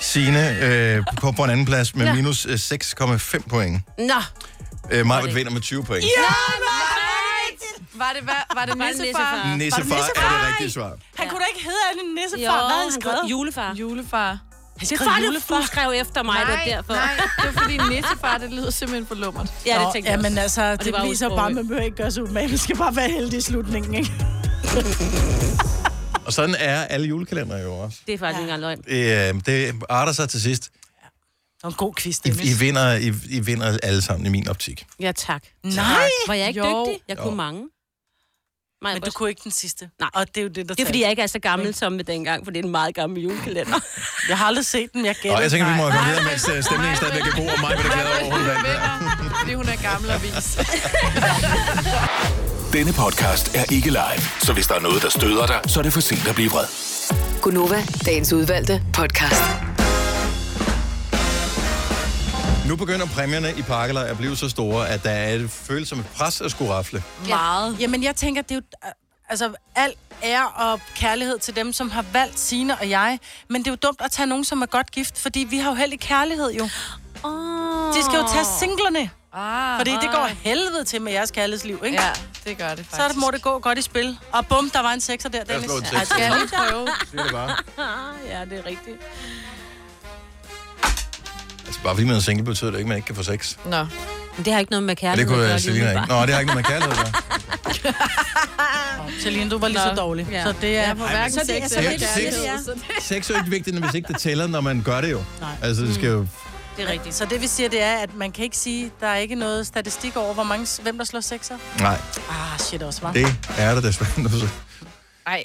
Speaker 1: Signe øh, på, på en anden plads med minus øh, 6,5 point.
Speaker 5: Nå!
Speaker 1: Øh, Marvitt vinder med 20 point.
Speaker 3: Var det, var, var det
Speaker 5: Var det nissefar?
Speaker 3: nissefar?
Speaker 1: Nissefar er det rigtige svar.
Speaker 4: Han kunne da ikke hedde alle nisse
Speaker 5: Jo,
Speaker 4: for, hvad han
Speaker 5: han
Speaker 4: skrev.
Speaker 5: skrev julefar.
Speaker 3: Julefar.
Speaker 5: Det er fordi, du, du skrev efter mig, det er derfor.
Speaker 3: nej, det var fordi nissefar, det lyder simpelthen for lummert.
Speaker 5: Ja, det
Speaker 4: Nå,
Speaker 5: tænkte jeg
Speaker 4: Jamen
Speaker 5: også.
Speaker 4: altså, det,
Speaker 5: det var
Speaker 4: det viser
Speaker 5: udsproget.
Speaker 4: bare, at man behøver ikke gøre sig umage. Man skal bare være heldig i slutningen, ikke?
Speaker 1: Og sådan er alle julekalendere jo også.
Speaker 5: Det er faktisk ikke engang løgn.
Speaker 1: Øh, det arter sig til sidst.
Speaker 4: Det var en god quiz,
Speaker 1: I,
Speaker 4: Dennis.
Speaker 1: I, vinder, I, I vinder alle sammen i min optik.
Speaker 5: Ja, tak.
Speaker 4: Nej!
Speaker 5: Var jeg ikke
Speaker 3: Jo.
Speaker 5: dygtig? Jeg
Speaker 1: Jo.
Speaker 5: kunne mange. Nej,
Speaker 4: Men du kunne ikke den sidste.
Speaker 5: Nej.
Speaker 4: Og det er jo det, der
Speaker 5: Det er fordi, jeg ikke er så gammel som med dengang, for det er en meget gammel julekalender.
Speaker 4: Jeg har aldrig set den, jeg
Speaker 1: Og
Speaker 4: gætter.
Speaker 1: jeg tænker, vi må komme videre, mens øh, stemningen stadigvæk er god, og mig vil glæde over, at hun vandt.
Speaker 3: Vinder, fordi hun er gammel og vis.
Speaker 7: Denne podcast er ikke live, så hvis der er noget, der støder dig, så er det for sent at blive vred.
Speaker 2: Gunova, dagens udvalgte podcast.
Speaker 1: Nu begynder præmierne i pakkelej at blive så store, at der er et følsomt pres at skulle rafle.
Speaker 4: meget. Jamen, jeg tænker, det er jo... Altså, al ære og kærlighed til dem, som har valgt Sine og jeg. Men det er jo dumt at tage nogen, som er godt gift, fordi vi har jo held i kærlighed, jo.
Speaker 5: Oh.
Speaker 4: De skal jo tage singlerne,
Speaker 3: Ah,
Speaker 4: fordi det går helvede til med jeres kærlighedsliv, ikke?
Speaker 3: Ja,
Speaker 4: Ja.
Speaker 3: det gør det faktisk.
Speaker 4: Så er det, må det gå godt i spil. Og bum, der var en sekser der,
Speaker 1: Jeg
Speaker 4: Dennis.
Speaker 1: slår en
Speaker 4: Ej,
Speaker 1: tekst.
Speaker 3: Skal jeg lige prøve?
Speaker 1: Siger det bare.
Speaker 5: altså- [LAUGHS] Ja, det er rigtigt.
Speaker 1: Altså, bare fordi man er single, betyder det ikke, at man ikke kan få sex.
Speaker 3: Nå.
Speaker 5: [LAUGHS] Men det har ikke noget med
Speaker 1: Ja, det
Speaker 5: kærlighed.
Speaker 1: kunne
Speaker 5: at gøre,
Speaker 1: øh, Selina ikke.
Speaker 5: umiddelbart.
Speaker 1: Nå, det har ikke noget med kærlighed at
Speaker 5: [LAUGHS]
Speaker 1: gøre.
Speaker 4: Celine, du var lige så
Speaker 3: Nå.
Speaker 4: dårlig.
Speaker 5: Ja.
Speaker 4: Så det er...
Speaker 3: Jeg må hverken
Speaker 5: så det-
Speaker 3: sex
Speaker 5: så
Speaker 3: eller
Speaker 1: det- det-
Speaker 3: kærlighed, så det-
Speaker 1: Sex er jo ikke vigtigt, hvis ikke det tæller, når man gør det jo. Nej. Altså, det skal jo...
Speaker 5: Det er rigtigt.
Speaker 4: Så det vi siger, det er, at man kan ikke sige, der er ikke noget statistik over, hvor mange, hvem der slår sekser.
Speaker 1: Nej,
Speaker 4: Ah, shit også, var.
Speaker 1: det er der desværre. noget så-
Speaker 3: Ej,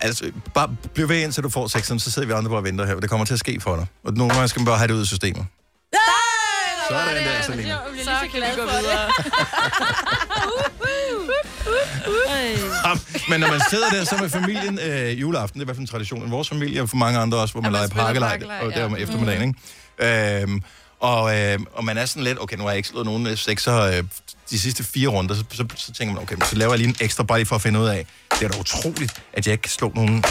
Speaker 1: Altså, bare bliv ved indtil du får sexen, så sidder vi andre bare og venter her. Det kommer til at ske for dig. Og nogle gange skal man bare have det ud af systemet. Sådan der, Selina.
Speaker 3: så kan vi gå videre.
Speaker 1: Ham. Men når man sidder der så med familien øh, juleaften, det er i hvert fald en tradition i vores familie, og for mange andre også, hvor man,
Speaker 3: man
Speaker 1: leger
Speaker 3: spiller
Speaker 1: pakkelej,
Speaker 3: pakkelej,
Speaker 1: og der
Speaker 3: ja. Mm.
Speaker 1: om eftermiddagen, ikke? Øhm, og, øh, og man er sådan lidt, okay, nu har jeg ikke slået nogen øh, sekser øh, de sidste fire runder, så, så, så tænker man, okay, men så laver jeg lige en ekstra bare lige for at finde ud af, det er da utroligt, at jeg ikke kan slå nogen.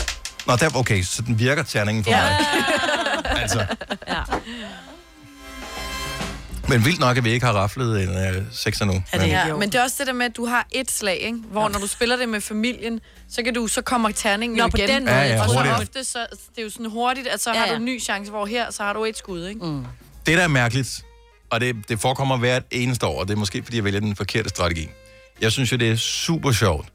Speaker 1: Nå, der, okay, så den virker terningen for ja. mig. altså.
Speaker 5: Ja.
Speaker 1: Men vildt nok, at vi ikke har raflet en øh, sekser nu.
Speaker 4: Er det
Speaker 1: Men-
Speaker 4: her?
Speaker 3: Ja, men det er også det der med, at du har et slag, ikke? hvor når du spiller det med familien, så kan du, så kommer terningen
Speaker 5: Nå,
Speaker 3: jo
Speaker 5: på
Speaker 3: igen.
Speaker 5: den måde,
Speaker 1: Ja, ja,
Speaker 3: og så
Speaker 1: hurtigere.
Speaker 3: ofte, så, det er jo sådan hurtigt, at så
Speaker 5: Ja,
Speaker 3: har
Speaker 5: ja.
Speaker 3: du en ny chance, hvor her, så har du et skud, ikke? Mm.
Speaker 1: Det, der er mærkeligt, og det, det forekommer hvert eneste år, og det er måske, fordi jeg vælger den forkerte strategi. Jeg synes jo, det er super sjovt.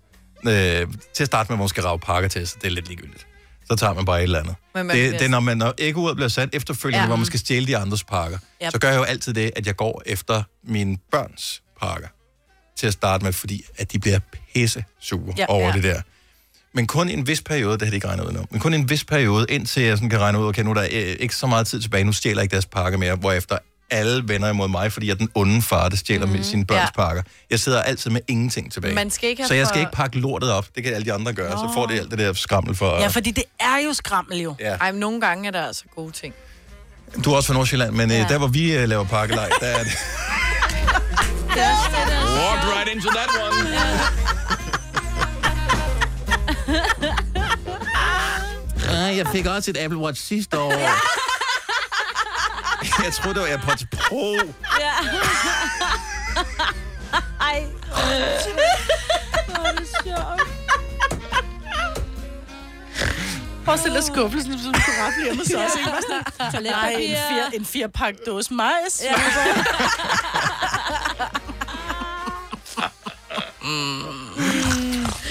Speaker 1: Øh, til at starte med, hvor man skal rave pakker til, så det er lidt ligegyldigt. Så tager man bare et eller andet.
Speaker 3: Men man
Speaker 1: det,
Speaker 3: bliver-
Speaker 1: det, er, når, man, når æggeuret bliver sat efterfølgende, ja.
Speaker 3: Ja.
Speaker 1: hvor man skal stjæle de andres pakker, yep. så gør jeg jo altid det, at jeg går efter mine børns pakker til at starte med, fordi at de bliver pisse sure ja,
Speaker 4: Ja.
Speaker 1: over ja.
Speaker 4: Ja.
Speaker 1: det der. Men kun i en vis periode, det har de ikke regnet ud nu, men kun i en vis periode, indtil jeg sådan kan regne ud, okay, nu er der øh, ikke så meget tid tilbage, nu stjæler jeg ikke deres pakke mere, hvorefter alle vender imod mig, fordi jeg er den onde far, der stjæler mm, sine børns ja.
Speaker 3: ja.
Speaker 1: pakker. Jeg sidder altid med ingenting tilbage.
Speaker 3: Man skal ikke have
Speaker 1: så jeg skal
Speaker 3: for-
Speaker 1: ikke pakke lortet op, det kan alle de andre gøre, så får det alt det der skrammel for...
Speaker 4: Ja, fordi det er jo skrammel jo.
Speaker 1: ja.
Speaker 3: Ej, men nogle gange er der altså gode ting.
Speaker 1: Du er også fra Nordsjælland, men ja. der hvor vi øh, laver pakkelej, der er [LAUGHS] det... Walk right into that one. Ah, jeg fik også et Apple Watch sidste år. [LAUGHS] Jeg troede, det var AirPods Pro.
Speaker 5: Ej. Hvor er det sjovt.
Speaker 4: Prøv at stille skuffelsen, som du rafle hjemme så også, ikke? Nej, en,
Speaker 5: Toiletpapir.
Speaker 4: fire, en firepakke dåse majs. Ja.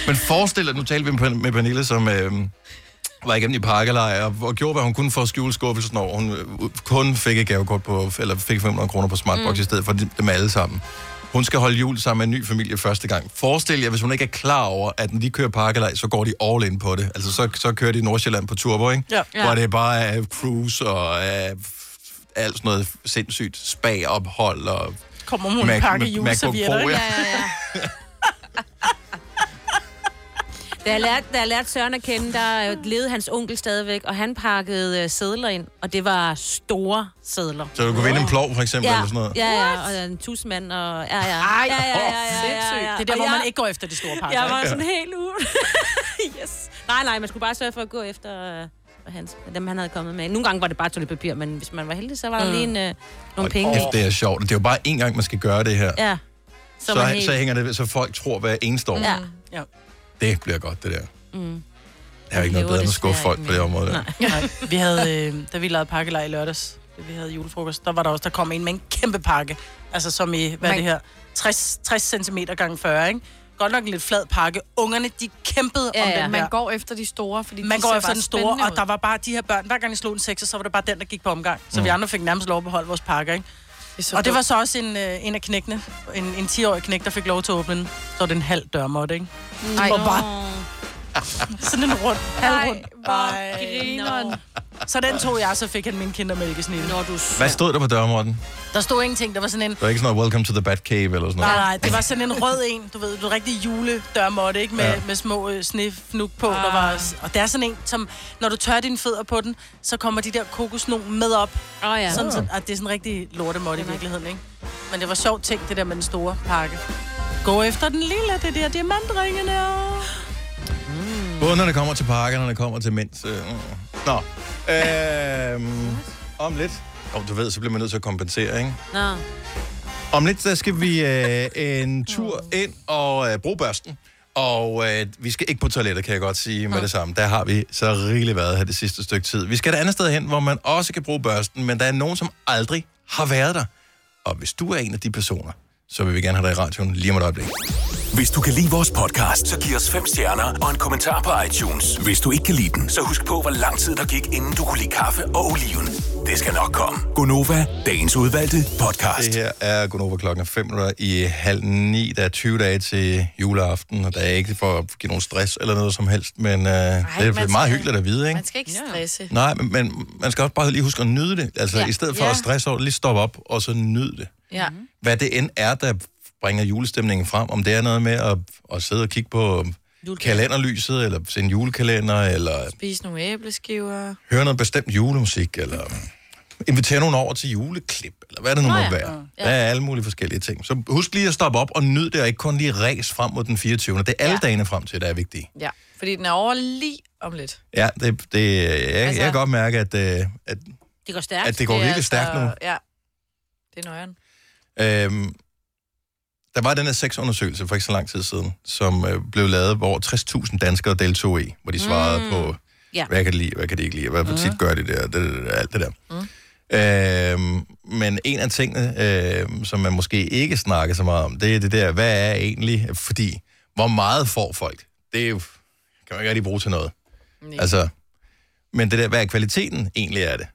Speaker 1: Men forestil dig, nu talte vi med Pern- med Pernille, som øh, var igennem i pakkelejr, og, og gjorde, hvad hun kunne for at skjule skuffelsen over. Hun øh, kun fik et gavekort på, eller fik 500 kroner på Smartbox mm. i stedet for dem alle sammen. Hun skal holde jul sammen med en ny familie første gang. Forestil jer, hvis hun ikke er klar over, at når de kører pakkelej, så går de all in på det. Altså, så, så kører de i Nordsjælland på turbo, ikke?
Speaker 4: Ja.
Speaker 1: Hvor det bare er cruise og øh, f- alt sådan noget sindssygt spa-ophold og...
Speaker 4: Kommer hun en
Speaker 1: Mac-
Speaker 4: pakke
Speaker 1: Mac-
Speaker 4: juleservietter,
Speaker 1: MacBook Pro,
Speaker 4: ikke?
Speaker 1: ja.
Speaker 5: Ja, ja, ja. [LAUGHS] Da jeg, lærte, da jeg lærte Søren at kende, der øh, levede hans onkel stadigvæk, og han pakkede øh, sædler ind, og det var store sædler.
Speaker 1: Så du kunne vinde en plov, for eksempel,
Speaker 5: Ja,
Speaker 1: eller sådan noget.
Speaker 5: ja, ja, og en tusmand, og ja, ja. Ej, ja, ja, ja, ja, ja, ja.
Speaker 4: Det er der,
Speaker 5: Og
Speaker 4: hvor
Speaker 5: jeg,
Speaker 4: man ikke går efter de store
Speaker 1: Ah,
Speaker 4: pakker.
Speaker 5: Jeg var sådan helt ude. [LAUGHS] yes. Nej, nej, man skulle bare sørge for at gå efter øh, hans, dem, han havde kommet med. Nogle gange var det bare toiletpapir, men hvis man var heldig, så var der lige en, øh, nogle penge.
Speaker 1: Kæft, det er sjovt. Det er jo bare én gang, man skal gøre det her.
Speaker 5: Ja. Så,
Speaker 1: så,
Speaker 5: man
Speaker 1: så hænger det ved, så folk tror hver eneste år.
Speaker 5: Ja.
Speaker 4: Ja.
Speaker 1: Det bliver godt, det der. Mm. Der er jo ikke
Speaker 5: lever
Speaker 1: noget bedre end at
Speaker 5: desværre
Speaker 1: skuffe folk
Speaker 5: ikke
Speaker 1: på det
Speaker 5: mere.
Speaker 1: område. Der.
Speaker 5: Nej.
Speaker 4: Nej, vi havde, øh, da vi lavede pakkelej i lørdags, da vi havde julefrokost, der var der også, der kom en med en kæmpe pakke. Altså som i, hvad er det her, 60, 60 cm gange 40, ikke? Godt nok en lidt flad pakke. Ungerne, de kæmpede
Speaker 5: Ja,
Speaker 4: om
Speaker 5: ja.
Speaker 4: den
Speaker 3: Man
Speaker 4: her.
Speaker 3: går efter de store, fordi
Speaker 4: Man
Speaker 3: de
Speaker 4: går
Speaker 3: ser
Speaker 4: efter
Speaker 3: bare
Speaker 4: den store,
Speaker 3: spændende
Speaker 4: og der
Speaker 3: ud.
Speaker 4: var bare de her børn. Hver gang de slog en sekser, så var det bare den, der gik på omgang. Så mm. vi andre fik nærmest lov at beholde vores pakker, ikke?
Speaker 3: er så
Speaker 4: Og det var
Speaker 3: dumt.
Speaker 4: så også en, øh, en af knækkene, en, en 10-årig knæk, der fik lov til at åbne den. Så var det en halv dørmåtte, ikke?
Speaker 3: Ej,
Speaker 4: Og bare [LAUGHS] sådan en rund, halv
Speaker 3: Ej,
Speaker 4: rund.
Speaker 3: hvor
Speaker 4: Ej.
Speaker 3: grineren.
Speaker 4: Så den tog jeg, så fik han min kindermælkesnit.
Speaker 5: Når du s-
Speaker 1: Hvad stod der på dørmånden?
Speaker 4: Der stod ingenting, der var sådan en...
Speaker 1: Der var ikke sådan noget Welcome to the Batcave eller sådan
Speaker 4: Nej,
Speaker 1: noget.
Speaker 4: nej, det var sådan en rød en, du ved, du rigtig juledørmåtte, ikke? Med,
Speaker 1: Ja.
Speaker 4: ja. med små øh, snefnuk på, ah. der var... Og det er sådan en, som, når du tør dine fødder på den, så kommer de der kokosnogen med op.
Speaker 5: Åh, ja.
Speaker 4: Ja. Sådan, så, at det er sådan en rigtig lortemåtte i virkeligheden, ikke? Men det var sjovt ting, det der med den store pakke. Gå efter den lille, det der diamantringene.
Speaker 1: Både når det kommer til pakker, når det kommer til mens. Øh, mm. Nå. Øhm, om lidt. Om du ved, så bliver man nødt til at kompensere, ikke?
Speaker 5: Nå.
Speaker 1: Om lidt, der skal vi øh, en tur ind og øh, bruge børsten. Og øh, vi skal ikke på toilettet, kan jeg godt sige med det samme. Der har vi så rigeligt været her det sidste stykke tid. Vi skal et andet sted hen, hvor man også kan bruge børsten, men der er nogen, som aldrig har været der. Og hvis du er en af de personer, så vil vi gerne have dig i radioen lige om et øjeblik.
Speaker 7: Hvis du kan lide vores podcast, så giv os fem stjerner og en kommentar på iTunes. Hvis du ikke kan lide den, så husk på, hvor lang tid der gik, inden du kunne lide kaffe og oliven. Det skal nok komme. Gonova, dagens udvalgte podcast.
Speaker 1: Det her er Gunova klokken 5 minutter i halv ni. Der er 20 dage til juleaften, og der er ikke for at give nogen stress eller noget som helst, men øh, Ej, det er
Speaker 3: man skal-
Speaker 1: meget hyggeligt at vide, ikke?
Speaker 3: Man skal ikke stresse.
Speaker 1: Nej, men, men man skal også bare lige huske at nyde det. Altså, ja.
Speaker 5: Ja.
Speaker 1: i stedet for
Speaker 3: Ja.
Speaker 1: at stresse over det, lige stoppe op og så nyde det.
Speaker 3: Ja.
Speaker 1: Hvad det end er, der bringer julestemningen frem, om det er noget med at, at sidde og kigge på kalenderlyset, eller se en julekalender, eller
Speaker 3: Spise nogle æbleskiver.
Speaker 1: høre noget bestemt julemusik, eller invitere nogen over til juleklip, eller hvad det nu
Speaker 5: Nå
Speaker 1: må
Speaker 5: ja.
Speaker 1: være. Der er alle mulige forskellige ting. Så husk lige at stoppe op og nyd det, og ikke kun lige ræs frem mod den 24. Det er alle
Speaker 3: Ja.
Speaker 1: dagene frem til, der er vigtige.
Speaker 3: Ja, fordi den er over lige om lidt.
Speaker 1: Ja, det, det, jeg, altså,
Speaker 3: Altså-
Speaker 1: jeg kan godt mærke, at, øh, at,
Speaker 5: Det altså- går stærkt.
Speaker 1: at det går
Speaker 3: er
Speaker 1: virkelig stærkt nu.
Speaker 3: Ja, det er nøjeren.
Speaker 1: Øhm, der var den her sexundersøgelse for ikke så lang tid siden, som øh, blev lavet, hvor 60.000 danskere deltog i, hvor de svarede mm. på,
Speaker 5: Ja.
Speaker 1: hvad kan de lide, hvad kan de ikke lide, hvad for tit gør de det, og det, det, det, alt det der. Mm. Øhm, men en af tingene, øh, som man måske ikke snakker så meget om, det er det der, hvad er egentlig, fordi, hvor meget får folk? Det er jo, kan man ikke rigtig bruge til noget.
Speaker 3: Nej.
Speaker 1: Altså, men det der, hvad er kvaliteten egentlig af det?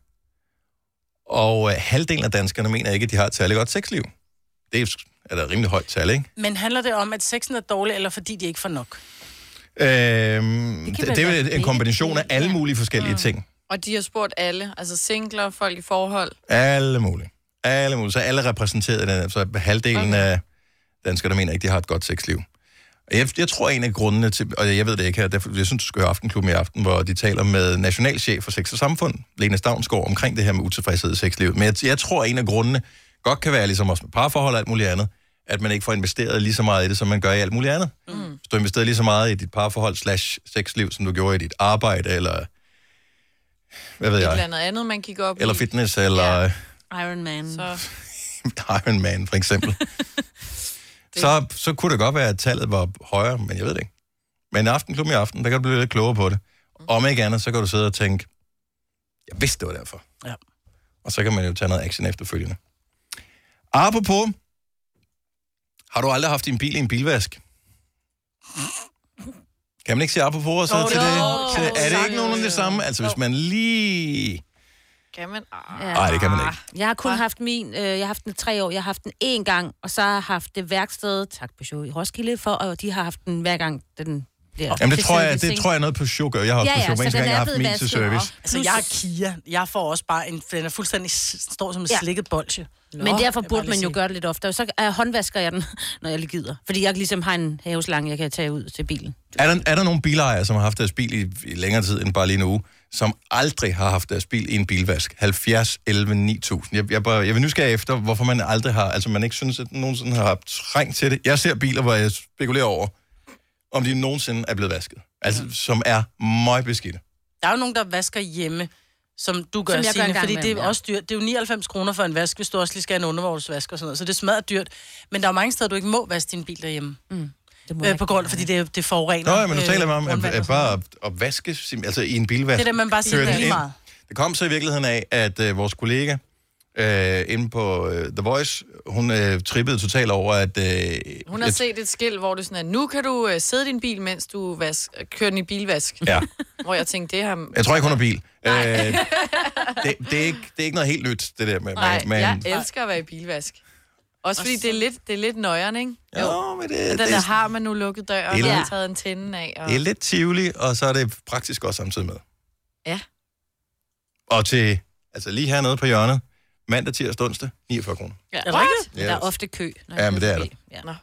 Speaker 1: Og øh, halvdelen af danskerne mener ikke, at de har et særligt godt sexliv. Det er, er da rimelig højt tal, ikke?
Speaker 4: Men handler det om, at sexen er dårlig, eller fordi de ikke får nok?
Speaker 1: Øhm, det,
Speaker 5: kan vel
Speaker 1: det er
Speaker 5: være
Speaker 1: vel en
Speaker 5: begge
Speaker 1: kombination af
Speaker 5: dele,
Speaker 1: alle
Speaker 5: ja.
Speaker 1: mulige forskellige ting.
Speaker 3: Og de har spurgt alle, altså singler, folk i forhold.
Speaker 1: Alle mulige. Alle mulige. Så alle er repræsenteret i den her. Så halvdelen okay. af danskere, der mener ikke, de har et godt sexliv. Og Jeg, jeg tror, en af grundene til, og jeg ved det ikke her, derfor, jeg synes, du skal høre Aftenklubben i aften, hvor de taler med nationalchef for Sex og Samfund, Lene Stavnsgaard, omkring det her med utilfredshed i sexlivet. Men jeg, jeg tror, en af grundene godt kan være, ligesom også med parforhold og alt muligt andet, at man ikke får investeret lige så meget i det, som man gør i alt muligt andet. Mm. Hvis du investerer lige så meget i dit parforhold slash sexliv, som du gjorde i dit arbejde, eller hvad ved
Speaker 3: Et
Speaker 1: jeg,
Speaker 3: eller andet andet, man kigger op
Speaker 1: eller
Speaker 3: i.
Speaker 1: fitness, eller... Ja.
Speaker 3: Ja.
Speaker 5: Iron Man. Så.
Speaker 1: [LAUGHS]
Speaker 3: Så
Speaker 1: Iron Man, for
Speaker 4: [LAUGHS]
Speaker 1: eksempel. så, så kunne det godt være, at tallet var højere, men jeg ved det ikke. Men aftenklubben i aften, der kan du blive lidt klogere på det. Om ikke andet, så kan du sidde og tænke, jeg vidste, det var derfor.
Speaker 4: Ja.
Speaker 1: Og så kan man jo tage noget action efterfølgende. Apropos, har du aldrig haft din bil i en bilvask? Kan man ikke sige apropos og så
Speaker 4: Jo,
Speaker 1: til
Speaker 4: jo,
Speaker 1: det?
Speaker 4: det kan
Speaker 1: Til,
Speaker 4: man
Speaker 1: er det
Speaker 4: sagtens.
Speaker 1: ikke nogen af det samme? Altså, hvis man lige
Speaker 3: Kan man? Ah,
Speaker 5: Ja.
Speaker 1: Nej, det kan man ikke.
Speaker 5: Jeg har kun
Speaker 3: Hva?
Speaker 5: haft min, øh, jeg har haft den i tre år, jeg har haft den én gang, og så har jeg haft det værksted, tak Peugeot, i Roskilde, for, og de har haft den hver gang, den bliver...
Speaker 1: Jamen, det
Speaker 5: til
Speaker 1: tror jeg, det
Speaker 5: servicing.
Speaker 1: tror jeg er noget på sugar. Jeg har også
Speaker 5: Ja,
Speaker 1: på sugar,
Speaker 5: ja,
Speaker 1: men eneste
Speaker 5: så den
Speaker 1: gang, jeg
Speaker 5: er
Speaker 1: har haft
Speaker 5: blevet
Speaker 1: min til
Speaker 5: vasket
Speaker 1: service.
Speaker 5: op.
Speaker 4: Altså, jeg er Kia. Jeg får også bare en... Den er fuldstændig... s- står som en
Speaker 5: Ja.
Speaker 4: ja. slikket bolsje.
Speaker 5: Men derfor
Speaker 4: jeg vil bare
Speaker 5: burde
Speaker 4: lige
Speaker 5: man jo
Speaker 4: sige.
Speaker 5: gøre det lidt oftere. Så øh, håndvasker jeg den, [LAUGHS] når jeg lige gider. Fordi jeg ligesom har en haveslange, jeg kan tage ud til bilen.
Speaker 1: Er der, er der nogle bilejere, som har haft deres bil i, i længere tid end bare lige en uge, som aldrig har haft deres bil i en bilvask? 70, 11, 9000. Jeg, jeg, bare, jeg vil nysgerrige efter, hvorfor man aldrig har, altså man ikke synes, at den nogensinde har haft trængt til det. Jeg ser biler, hvor jeg spekulerer over, om de nogensinde er blevet vasket. Altså, som er møgbeskidte.
Speaker 4: Der er jo nogen, der vasker hjemme, som du gør,
Speaker 5: Som
Speaker 4: som
Speaker 5: jeg gør
Speaker 4: Signe,
Speaker 5: en gang
Speaker 4: fordi det er
Speaker 5: imellem,
Speaker 4: ja.
Speaker 5: ja.
Speaker 4: også dyrt. Det er jo 99 kroner for en vask, hvis du også lige skal have en undervognsvask og sådan noget. Så det er smadret dyrt. Men der er jo mange steder, du ikke må vaske din bil derhjemme.
Speaker 5: Det må jeg
Speaker 4: Øh, på
Speaker 5: ikke.
Speaker 4: grund, fordi det, det forurener.
Speaker 1: Nå, ja, men nu
Speaker 4: øh,
Speaker 1: taler vi om, at,
Speaker 4: grundvand og
Speaker 1: at
Speaker 4: sådan noget.
Speaker 1: bare at, at vaske, sim- altså i en bilvask.
Speaker 4: Det er det, man bare siger,
Speaker 1: Kører
Speaker 4: det er
Speaker 1: den
Speaker 4: lige
Speaker 1: ind.
Speaker 4: meget.
Speaker 1: Det kom så i virkeligheden af, at øh, vores kollega øh, inde på øh, The Voice, hun øh, trippede totalt over, at... Øh,
Speaker 3: Hun har
Speaker 1: at-
Speaker 3: set et skilt, hvor det sådan er, nu kan du øh, sidde i din bil, mens du vask, øh, kører den i bilvask.
Speaker 1: Ja,
Speaker 3: Hvor jeg
Speaker 1: [LAUGHS]
Speaker 3: tænkte, det har...
Speaker 1: jeg tror ikke, hun har bil. Øh, det, det, er ikke, det er ikke noget helt nyt, det der med...
Speaker 3: Nej,
Speaker 1: med,
Speaker 3: jeg elsker at være i bilvask. Også fordi det er lidt, det er lidt nøjeren, ikke?
Speaker 1: jo, men det, det,
Speaker 3: Den der
Speaker 1: det,
Speaker 3: har man nu lukket døren,
Speaker 1: Det
Speaker 3: og
Speaker 1: er
Speaker 3: har
Speaker 5: lidt-
Speaker 3: taget antennen af. Og...
Speaker 1: det er lidt tivoli, og så er det praktisk også samtidig med.
Speaker 3: Ja.
Speaker 1: Og til, altså lige hernede på hjørnet, mandag, tirsdag, onsdag, 49 kroner.
Speaker 3: Ja.
Speaker 4: Er det rigtigt?
Speaker 5: Men Der er ofte kø. når
Speaker 1: Ja,
Speaker 5: jeg
Speaker 1: men
Speaker 5: kører
Speaker 1: det er
Speaker 5: forbi. Ja.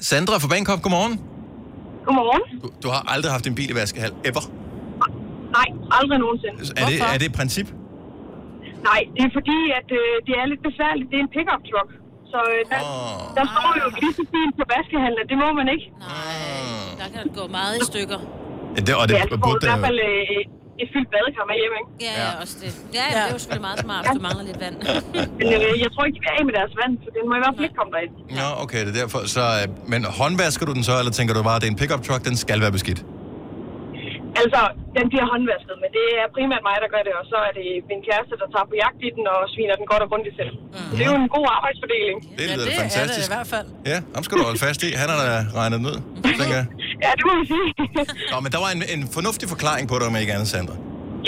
Speaker 1: Sandra fra Bangkok, godmorgen.
Speaker 9: Godmorgen.
Speaker 1: Du, du har aldrig haft en bil i vaskehal, ever.
Speaker 9: Nej, aldrig nogensinde.
Speaker 1: Er det, er det et princip?
Speaker 9: Nej, det er fordi, at øh, det er lidt besværligt. Det er en pickup truck. Så øh, der,
Speaker 1: Åh.
Speaker 9: der står jo vissebilen på vaskehandler. Det må man ikke.
Speaker 5: Nej, Mm. der kan det gå meget i stykker.
Speaker 1: Ja, det, og det,
Speaker 9: Ja, så får du
Speaker 1: burde
Speaker 9: altså i hvert
Speaker 1: det,
Speaker 9: fald øh, et fyldt badekar med hjem, ikke?
Speaker 5: Ja, ja. også det. Ja, ja, det er jo selvfølgelig meget smart, hvis du mangler lidt vand.
Speaker 9: Men øh, jeg tror ikke, de vil af med deres vand, så den må i hvert fald ikke komme derind.
Speaker 1: Nå, okay, det er derfor. Så, øh, men håndvasker du den så, eller tænker du bare, at det er en pickup truck, den skal være beskidt?
Speaker 9: Altså, den bliver håndvasket, men det er primært mig, der gør det, og så er det min kæreste, der tager på jagt i den og sviner den godt og grundigt selv.
Speaker 5: Mm.
Speaker 9: Så det er jo en god arbejdsfordeling.
Speaker 1: Det lyder
Speaker 4: det
Speaker 1: da
Speaker 4: er det
Speaker 1: fantastisk.
Speaker 4: i hvert fald.
Speaker 1: Ja, ham skal du holde fast i. Han har da regnet den ud, tænker jeg.
Speaker 9: Ja, det må vi sige.
Speaker 1: Nå, men der var en, en fornuftig forklaring på det, om ikke andet, Sandra.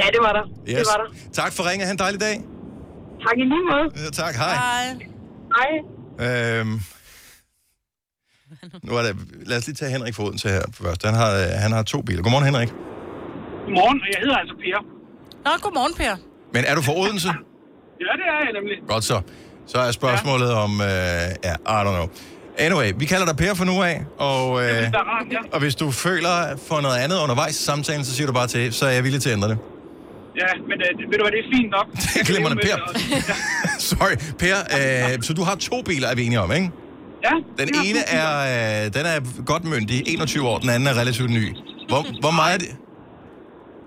Speaker 9: ja, det var der. Yes. Det var der.
Speaker 1: Tak for ringet. Ha' en dejlig dag.
Speaker 9: Tak i lige måde.
Speaker 1: Ja, tak, hej.
Speaker 4: Nej.
Speaker 9: Hej.
Speaker 1: Øhm, nu er det, lad os lige tage Henrik Foden til her først. Han har, øh, han har to biler. Godmorgen, Henrik.
Speaker 9: Godmorgen, og jeg hedder altså Per.
Speaker 4: Nå, godmorgen, Per.
Speaker 1: Men er du fra Odense?
Speaker 9: Ja, det er jeg nemlig.
Speaker 1: Godt så. Så er spørgsmålet ja. om... Øh, ja, I don't know. Anyway, vi kalder dig Per for nu af, og, øh,
Speaker 9: Der er rart,
Speaker 1: [LAUGHS]
Speaker 9: ja.
Speaker 1: og hvis du føler for noget andet undervejs i samtalen, så siger du bare til, så er jeg villig til at ændre det.
Speaker 9: Ja, men øh, ved du hvad, det er fint nok.
Speaker 1: Glimrende, Per.
Speaker 9: [LAUGHS] Ja,
Speaker 1: Sorry, Per, øh, så du har to biler, er vi enige om, ikke?
Speaker 9: ja,
Speaker 1: Den
Speaker 9: det
Speaker 1: ene
Speaker 9: fint nok.
Speaker 1: er, øh, den er godt myndig, 21 år, den anden er relativt ny. Hvor, hvor meget er det?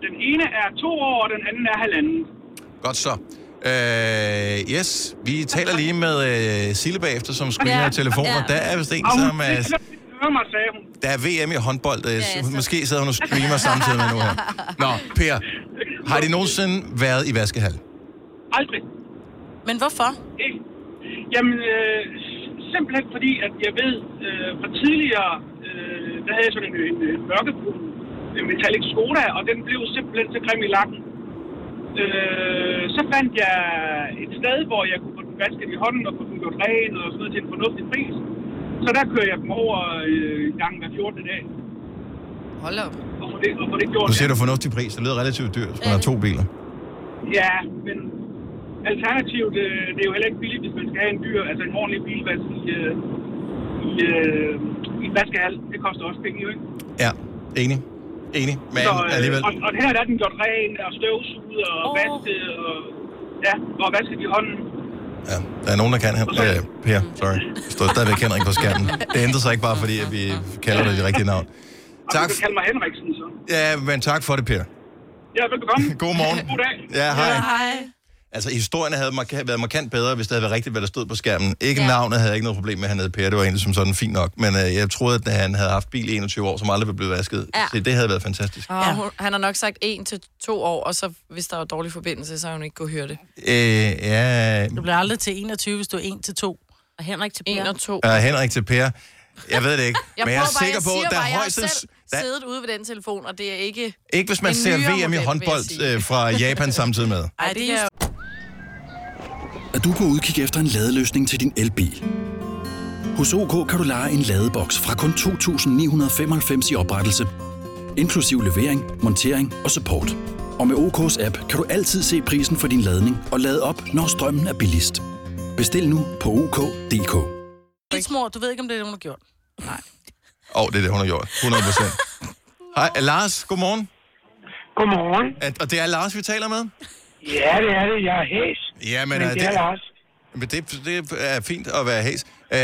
Speaker 9: Den ene er to år, og den anden er halvanden.
Speaker 1: Godt så. Øh, yes, vi taler lige med øh, Sille bagefter, som screener ja.
Speaker 5: Ja,
Speaker 1: telefoner.
Speaker 5: ja.
Speaker 1: Der er vist en,
Speaker 9: Og hun
Speaker 1: som er,
Speaker 9: hører mig, sagde hun.
Speaker 1: der er VM i håndbold. Øh,
Speaker 5: Ja,
Speaker 1: ja,
Speaker 5: så-
Speaker 1: måske sidder hun og streamer samtidig med nu her. Nå, Per, har de nogensinde været i vaskehal?
Speaker 9: Aldrig.
Speaker 4: Men hvorfor?
Speaker 9: Ikke. Jamen, øh, simpelthen fordi, at jeg ved øh, fra tidligere, øh, der havde jeg sådan en, en, en mørkebrun en metallic Skoda, og den blev simpelthen så grim i lakken. Øh, så fandt jeg et sted, hvor jeg kunne få den vasket i hånden og få den gjort ren og sådan noget til en fornuftig pris. Så der kører jeg dem over øh, en gang hver 14. dag
Speaker 3: Hold op.
Speaker 9: og få det, og få det gjort.
Speaker 1: Nu siger du fornuftig pris, det lyder relativt dyrt, hvis man har to biler.
Speaker 9: Ja, men alternativt, øh, det er jo heller ikke billigt, hvis man skal have en dyr, altså en ordentlig bilvask i, øh, i, øh, i en vaskehal. Det koster også penge, jo ikke?
Speaker 1: Ja, enig. Enig, men
Speaker 9: øh,
Speaker 1: alligevel.
Speaker 9: og, og her der er den gjort ren og støvsuget og
Speaker 5: Åh.
Speaker 9: oh. vasket og, ja, og vasket i hånden.
Speaker 1: Ja, der er nogen, der kan her. Øh, per, sorry. Jeg står stadigvæk Henrik på skærmen. Det ændrer sig ikke bare, fordi at vi kalder det det rigtige navn.
Speaker 9: Og
Speaker 1: Tak.
Speaker 9: Du kan kalde mig Henriksen, så.
Speaker 1: Ja, men tak for det, Per.
Speaker 9: Ja, velbekomme.
Speaker 1: [LAUGHS] God morgen.
Speaker 9: God dag.
Speaker 1: Ja, hej.
Speaker 3: Hej.
Speaker 1: Altså, historien havde marka- været markant bedre, hvis det havde været rigtigt, hvad der stod på skærmen. Ikke ja.
Speaker 5: Ja.
Speaker 1: navnet havde jeg ikke noget problem med, han hed Per. Det var egentlig som sådan fint nok. Men øh, jeg troede, at han havde haft bil i 21 år, som aldrig blev blevet vasket. Ja.
Speaker 5: Ja.
Speaker 1: Så det havde været fantastisk.
Speaker 3: Og hun, han har nok sagt en til to år, og så hvis der var dårlig forbindelse, så har hun ikke kunne høre det.
Speaker 1: Øh, ja,
Speaker 4: Du bliver aldrig til 21, hvis du er 1 til 2.
Speaker 5: Og Henrik til
Speaker 3: En
Speaker 5: Per.
Speaker 3: og to.
Speaker 1: øh, Henrik til Per. Jeg ved det ikke.
Speaker 3: Jeg
Speaker 1: men jeg er
Speaker 3: prøver bare,
Speaker 1: sikker
Speaker 3: jeg
Speaker 1: på, der
Speaker 3: siger bare,
Speaker 1: er
Speaker 3: jeg har
Speaker 1: højst...
Speaker 3: selv
Speaker 1: Der,
Speaker 3: siddet ude ved den telefon, og det er ikke...
Speaker 1: ikke hvis man
Speaker 3: en
Speaker 1: ser
Speaker 3: nyere
Speaker 1: VM i
Speaker 3: model, vil jeg
Speaker 1: håndbold
Speaker 3: sige.
Speaker 1: øh, fra Japan samtidig med.
Speaker 3: Ej, det,
Speaker 4: det
Speaker 3: er
Speaker 4: er
Speaker 10: du
Speaker 3: jo
Speaker 10: på udkig efter en ladeløsning til din elbil. Hos OK kan du lege en ladeboks fra kun 2.995 i oprettelse, inklusiv levering, montering og support. Og med OK's app kan du altid se prisen for din ladning og lade op, når strømmen er billigst. Bestil nu på OK.dk.
Speaker 4: Lidt små, du ved ikke, om det er det, hun har gjort.
Speaker 1: Åh, oh, det er det, hun har gjort. 100 procent. Hej, eh, Lars, godmorgen.
Speaker 9: Godmorgen.
Speaker 1: At, og det er Lars, vi taler med?
Speaker 9: Ja, det er det. Jeg er hæs.
Speaker 1: Ja, men,
Speaker 9: Men
Speaker 1: øh,
Speaker 9: det er Lars.
Speaker 1: Men det, det er fint at være hæs. Øh,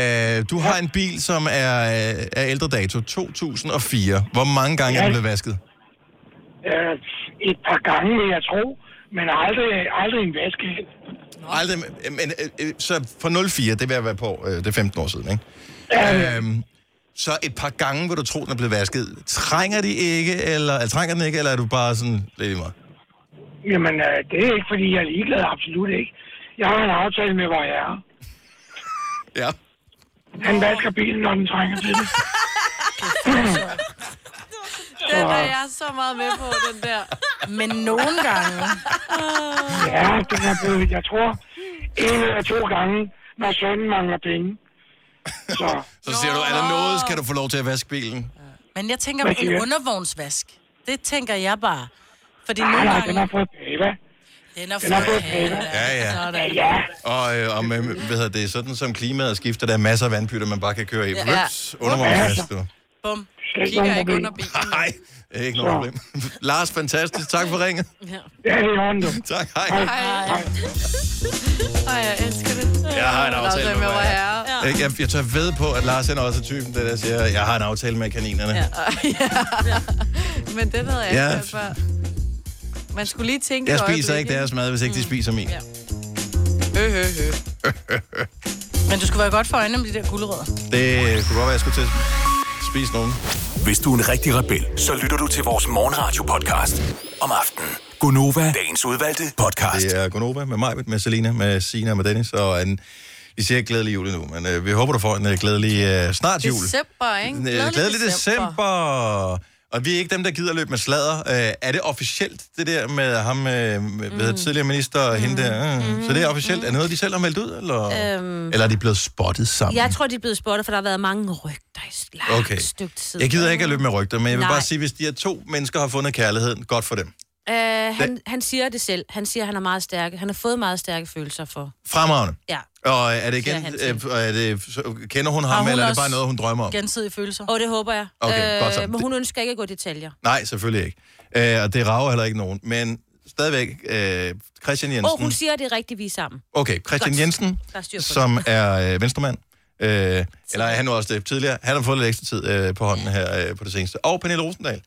Speaker 1: du har en bil, som er øh, af ældre dato, 2004. Hvor mange gange er
Speaker 9: Ja.
Speaker 1: den blevet vasket?
Speaker 9: Øh, et par gange, vil jeg tro, men aldrig, aldrig en vaske.
Speaker 1: Aldrig, men, øh, øh, så fra 04, det vil jeg være på, øh, det er 15 år siden, ikke? Øhm, så et par gange vil du tro, den er blevet vasket. Trænger, de ikke, eller, eller, trænger den ikke, eller er du bare sådan lidt i mig?
Speaker 9: Jamen, øh, det er ikke, fordi jeg er ligeglad. Absolut ikke. Jeg har en aftale med, hvor jeg er.
Speaker 1: Ja.
Speaker 9: Han vasker bilen, når den trænger til det.
Speaker 3: Den er jeg så meget med på, den der.
Speaker 4: Men nogle gange...
Speaker 9: Ja, den er blevet, jeg tror, en eller to gange, når sønnen mangler penge. Så,
Speaker 1: Så siger du, er der noget, skal du få lov til at vaske bilen?
Speaker 4: Men jeg tænker
Speaker 9: Men
Speaker 4: på en
Speaker 9: det er-
Speaker 4: undervognsvask. Det tænker jeg bare. Fordi
Speaker 9: nej,
Speaker 4: nogle
Speaker 9: nej,
Speaker 4: gange...
Speaker 9: den har fået pava.
Speaker 4: Den er
Speaker 9: Den har fået pava.
Speaker 1: Ja, ja.
Speaker 4: Sådan.
Speaker 9: Ja,
Speaker 1: Og, øh, og med, hvad hedder det, sådan som klimaet skifter, der er masser af vandpytter, man bare kan køre i.
Speaker 3: Ja.
Speaker 1: Ups, undervognsvask, du.
Speaker 4: Bum.
Speaker 9: slet ikke
Speaker 3: Kigger
Speaker 9: nogen
Speaker 3: ikke
Speaker 9: problem.
Speaker 3: under bilen.
Speaker 1: Nej, det er ikke noget problem. [LAUGHS] Lars, fantastisk. Tak for ringet. [LAUGHS]
Speaker 9: Ja, det er i orden, du.
Speaker 1: Tak, hej.
Speaker 3: Ej. Ej, jeg elsker det.
Speaker 1: Jeg har en aftale med,
Speaker 3: med
Speaker 1: hvor
Speaker 3: vor
Speaker 1: jeg
Speaker 3: herre. Ja.
Speaker 1: Ikke? Jeg, jeg tør ved på, at Lars han er også typen, der, der siger, jeg har en aftale med kaninerne. Ja.
Speaker 3: Men den havde jeg
Speaker 1: Ja.
Speaker 3: ikke hørt før. Man skulle lige tænke
Speaker 1: Jeg
Speaker 3: et
Speaker 1: spiser
Speaker 3: øjeblik,
Speaker 1: ikke deres mad, hvis ikke de spiser min.
Speaker 3: Mm. Ja. Øh, øh, øh.
Speaker 4: Men du skulle være godt for øjnene med de der gulerødder.
Speaker 1: Det kunne godt være, jeg skulle til at spise nogen.
Speaker 7: Hvis du er en rigtig rebel, så lytter du til vores morgenradio-podcast om aftenen. Gunova, dagens udvalgte podcast.
Speaker 1: Det er Gonova med mig, med Selina, med Sina og med Dennis. Og en, vi siger ikke glædelig jul endnu, men øh, vi håber, du får en øh, glædelig øh, snart jul.
Speaker 3: December, ikke?
Speaker 1: Øh, Glædelig december. Og vi er ikke dem, der gider løbe med sladder. Øh, er det officielt, det der med ham, øh, med, mm. tidligere minister og mm. hende der? Øh. Mm. Så det er officielt. Er noget, de selv har meldt ud, eller, øhm. eller er de blevet spottet sammen?
Speaker 5: Øh. Jeg tror, de er blevet spottet, for der har været mange rygter i et langt
Speaker 1: Okay.
Speaker 5: okay. stykke tid.
Speaker 1: Jeg gider ikke at løbe med rygter, men jeg vil Nej.
Speaker 5: Nej.
Speaker 1: bare sige, hvis de her to mennesker har fundet kærligheden, godt for dem.
Speaker 5: Øh, han, han siger det selv. Han siger, at han er meget stærke. Han har fået meget stærke følelser for.
Speaker 1: Fremragende.
Speaker 5: Ja.
Speaker 1: Og er det igen,
Speaker 5: Siger han til.
Speaker 1: øh, er det, så- kender hun
Speaker 4: Har
Speaker 1: ham,
Speaker 4: hun
Speaker 1: eller er det
Speaker 4: også
Speaker 1: bare noget, hun drømmer om?
Speaker 4: Gensidige følelser.
Speaker 5: Og det håber jeg. Øh,
Speaker 1: Okay, godt så.
Speaker 5: men hun ønsker ikke at gå i detaljer.
Speaker 1: Nej, selvfølgelig ikke. Øh, og det rager heller ikke nogen. Men stadigvæk, øh, Christian Jensen...
Speaker 5: Og hun siger, at det er rigtigt, vi er sammen.
Speaker 1: Okay, Christian
Speaker 5: Godt.
Speaker 1: Jensen,
Speaker 5: Der er styr på
Speaker 1: som er øh, venstremand, øh, eller er han nu også det tidligere, han har fået lidt ekstra tid øh, på hånden her øh, på det seneste. Og Pernille Rosendal,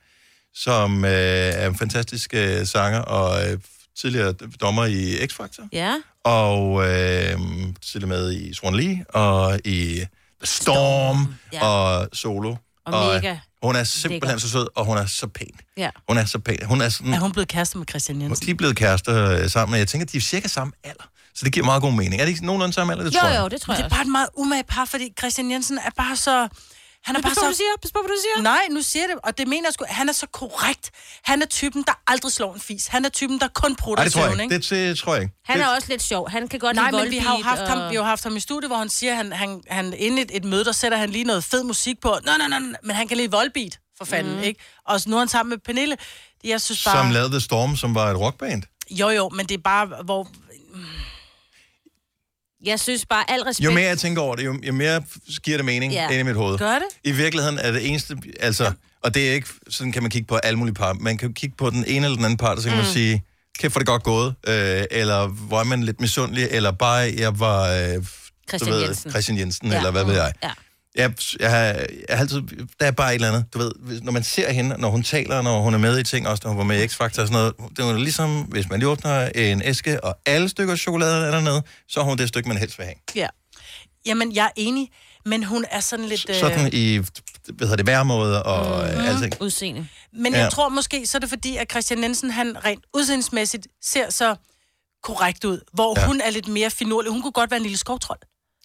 Speaker 1: som øh, er en fantastisk øh, sanger og øh, tidligere dommer i X-Factor,
Speaker 5: Ja.
Speaker 1: og øh, tidligere med i Swan Lee, og i The Storm, Storm.
Speaker 5: ja.
Speaker 1: og Solo.
Speaker 5: Og mega
Speaker 1: Hun er simpelthen
Speaker 5: lækker.
Speaker 1: så sød, og hun er så pæn.
Speaker 5: Ja.
Speaker 1: Hun er så pæn. Hun er sådan
Speaker 4: Er hun blevet kæreste med Christian Jensen?
Speaker 1: de er blevet kærester øh, sammen, og jeg tænker, de er cirka samme alder. Så det giver meget god mening. Er det ikke nogenlunde samme alder? Det tror
Speaker 5: Jo,
Speaker 1: jeg.
Speaker 5: jo, det tror
Speaker 4: Men det
Speaker 5: jeg
Speaker 4: er
Speaker 5: også.
Speaker 4: bare et meget umage par, fordi Christian Jensen er bare så... Han er
Speaker 5: Pas
Speaker 4: bare
Speaker 5: på, hvad du
Speaker 4: så...
Speaker 5: siger. Pas på, hvad du siger.
Speaker 4: Nej, nu siger jeg det, og det mener jeg sgu. Han er så korrekt. Han er typen, der aldrig slår en fis. Han er typen, der kun prutter
Speaker 1: Nej, det tror jeg
Speaker 4: søvn,
Speaker 1: ikke. Det, det tror jeg ikke.
Speaker 5: Han
Speaker 1: det,
Speaker 5: er også lidt sjov. Han kan godt
Speaker 4: Nej,
Speaker 5: lide
Speaker 4: men vi har jo
Speaker 5: Volbeat
Speaker 4: haft ham,
Speaker 5: og-
Speaker 4: vi har jo haft ham i studiet, hvor han siger, han, han, han inden et, et møde, der sætter han lige noget fed musik på. Nå, nej, nej, nej, men han kan lide Volbeat, for fanden, mm. ikke? Og nu er han sammen med Pernille. Jeg synes bare...
Speaker 1: Som lavede The Storm, som var et rockband.
Speaker 4: Jo, jo, men det er bare, hvor...
Speaker 5: Jeg synes bare, al respekt...
Speaker 1: Jo mere jeg tænker over det, jo, jo mere f- giver det mening
Speaker 5: Ja.
Speaker 1: yeah. ind i mit hoved.
Speaker 4: Gør det?
Speaker 1: I virkeligheden er det eneste... Altså, og det er ikke... Sådan kan man kigge på alle mulige par. Man kan jo kigge på den ene eller den anden part, og så kan mm. man sige, kæft for det godt gået, øh, eller hvor er man lidt misundelig, eller bare, jeg var... Øh,
Speaker 5: Christian
Speaker 1: du ved,
Speaker 5: Jensen.
Speaker 1: Christian Jensen, ja. eller hvad ved jeg.
Speaker 5: Ja.
Speaker 1: Jeg, jeg, har, jeg har altid, der er bare et eller andet, du ved, hvis- når man ser hende, når hun taler, når hun er med i ting, også når hun var med i X-Factor og sådan noget, det er jo ligesom, hvis man lige åbner en æske, og alle stykker chokolade er dernede, så har hun det stykke, man helst vil have.
Speaker 4: Ja. Jamen, jeg er enig, men hun er sådan lidt... øh,
Speaker 1: Sådan i, hvad hedder det, væremåde og mm.
Speaker 5: Mhm.
Speaker 1: alting.
Speaker 5: Udseende.
Speaker 4: Men jeg
Speaker 1: Ja.
Speaker 4: tror måske, så er det fordi, at Christian Jensen, han rent udseendsmæssigt ser så korrekt ud, hvor
Speaker 1: Ja.
Speaker 4: ja. hun er lidt mere finurlig. Hun kunne godt være en lille skovtrold.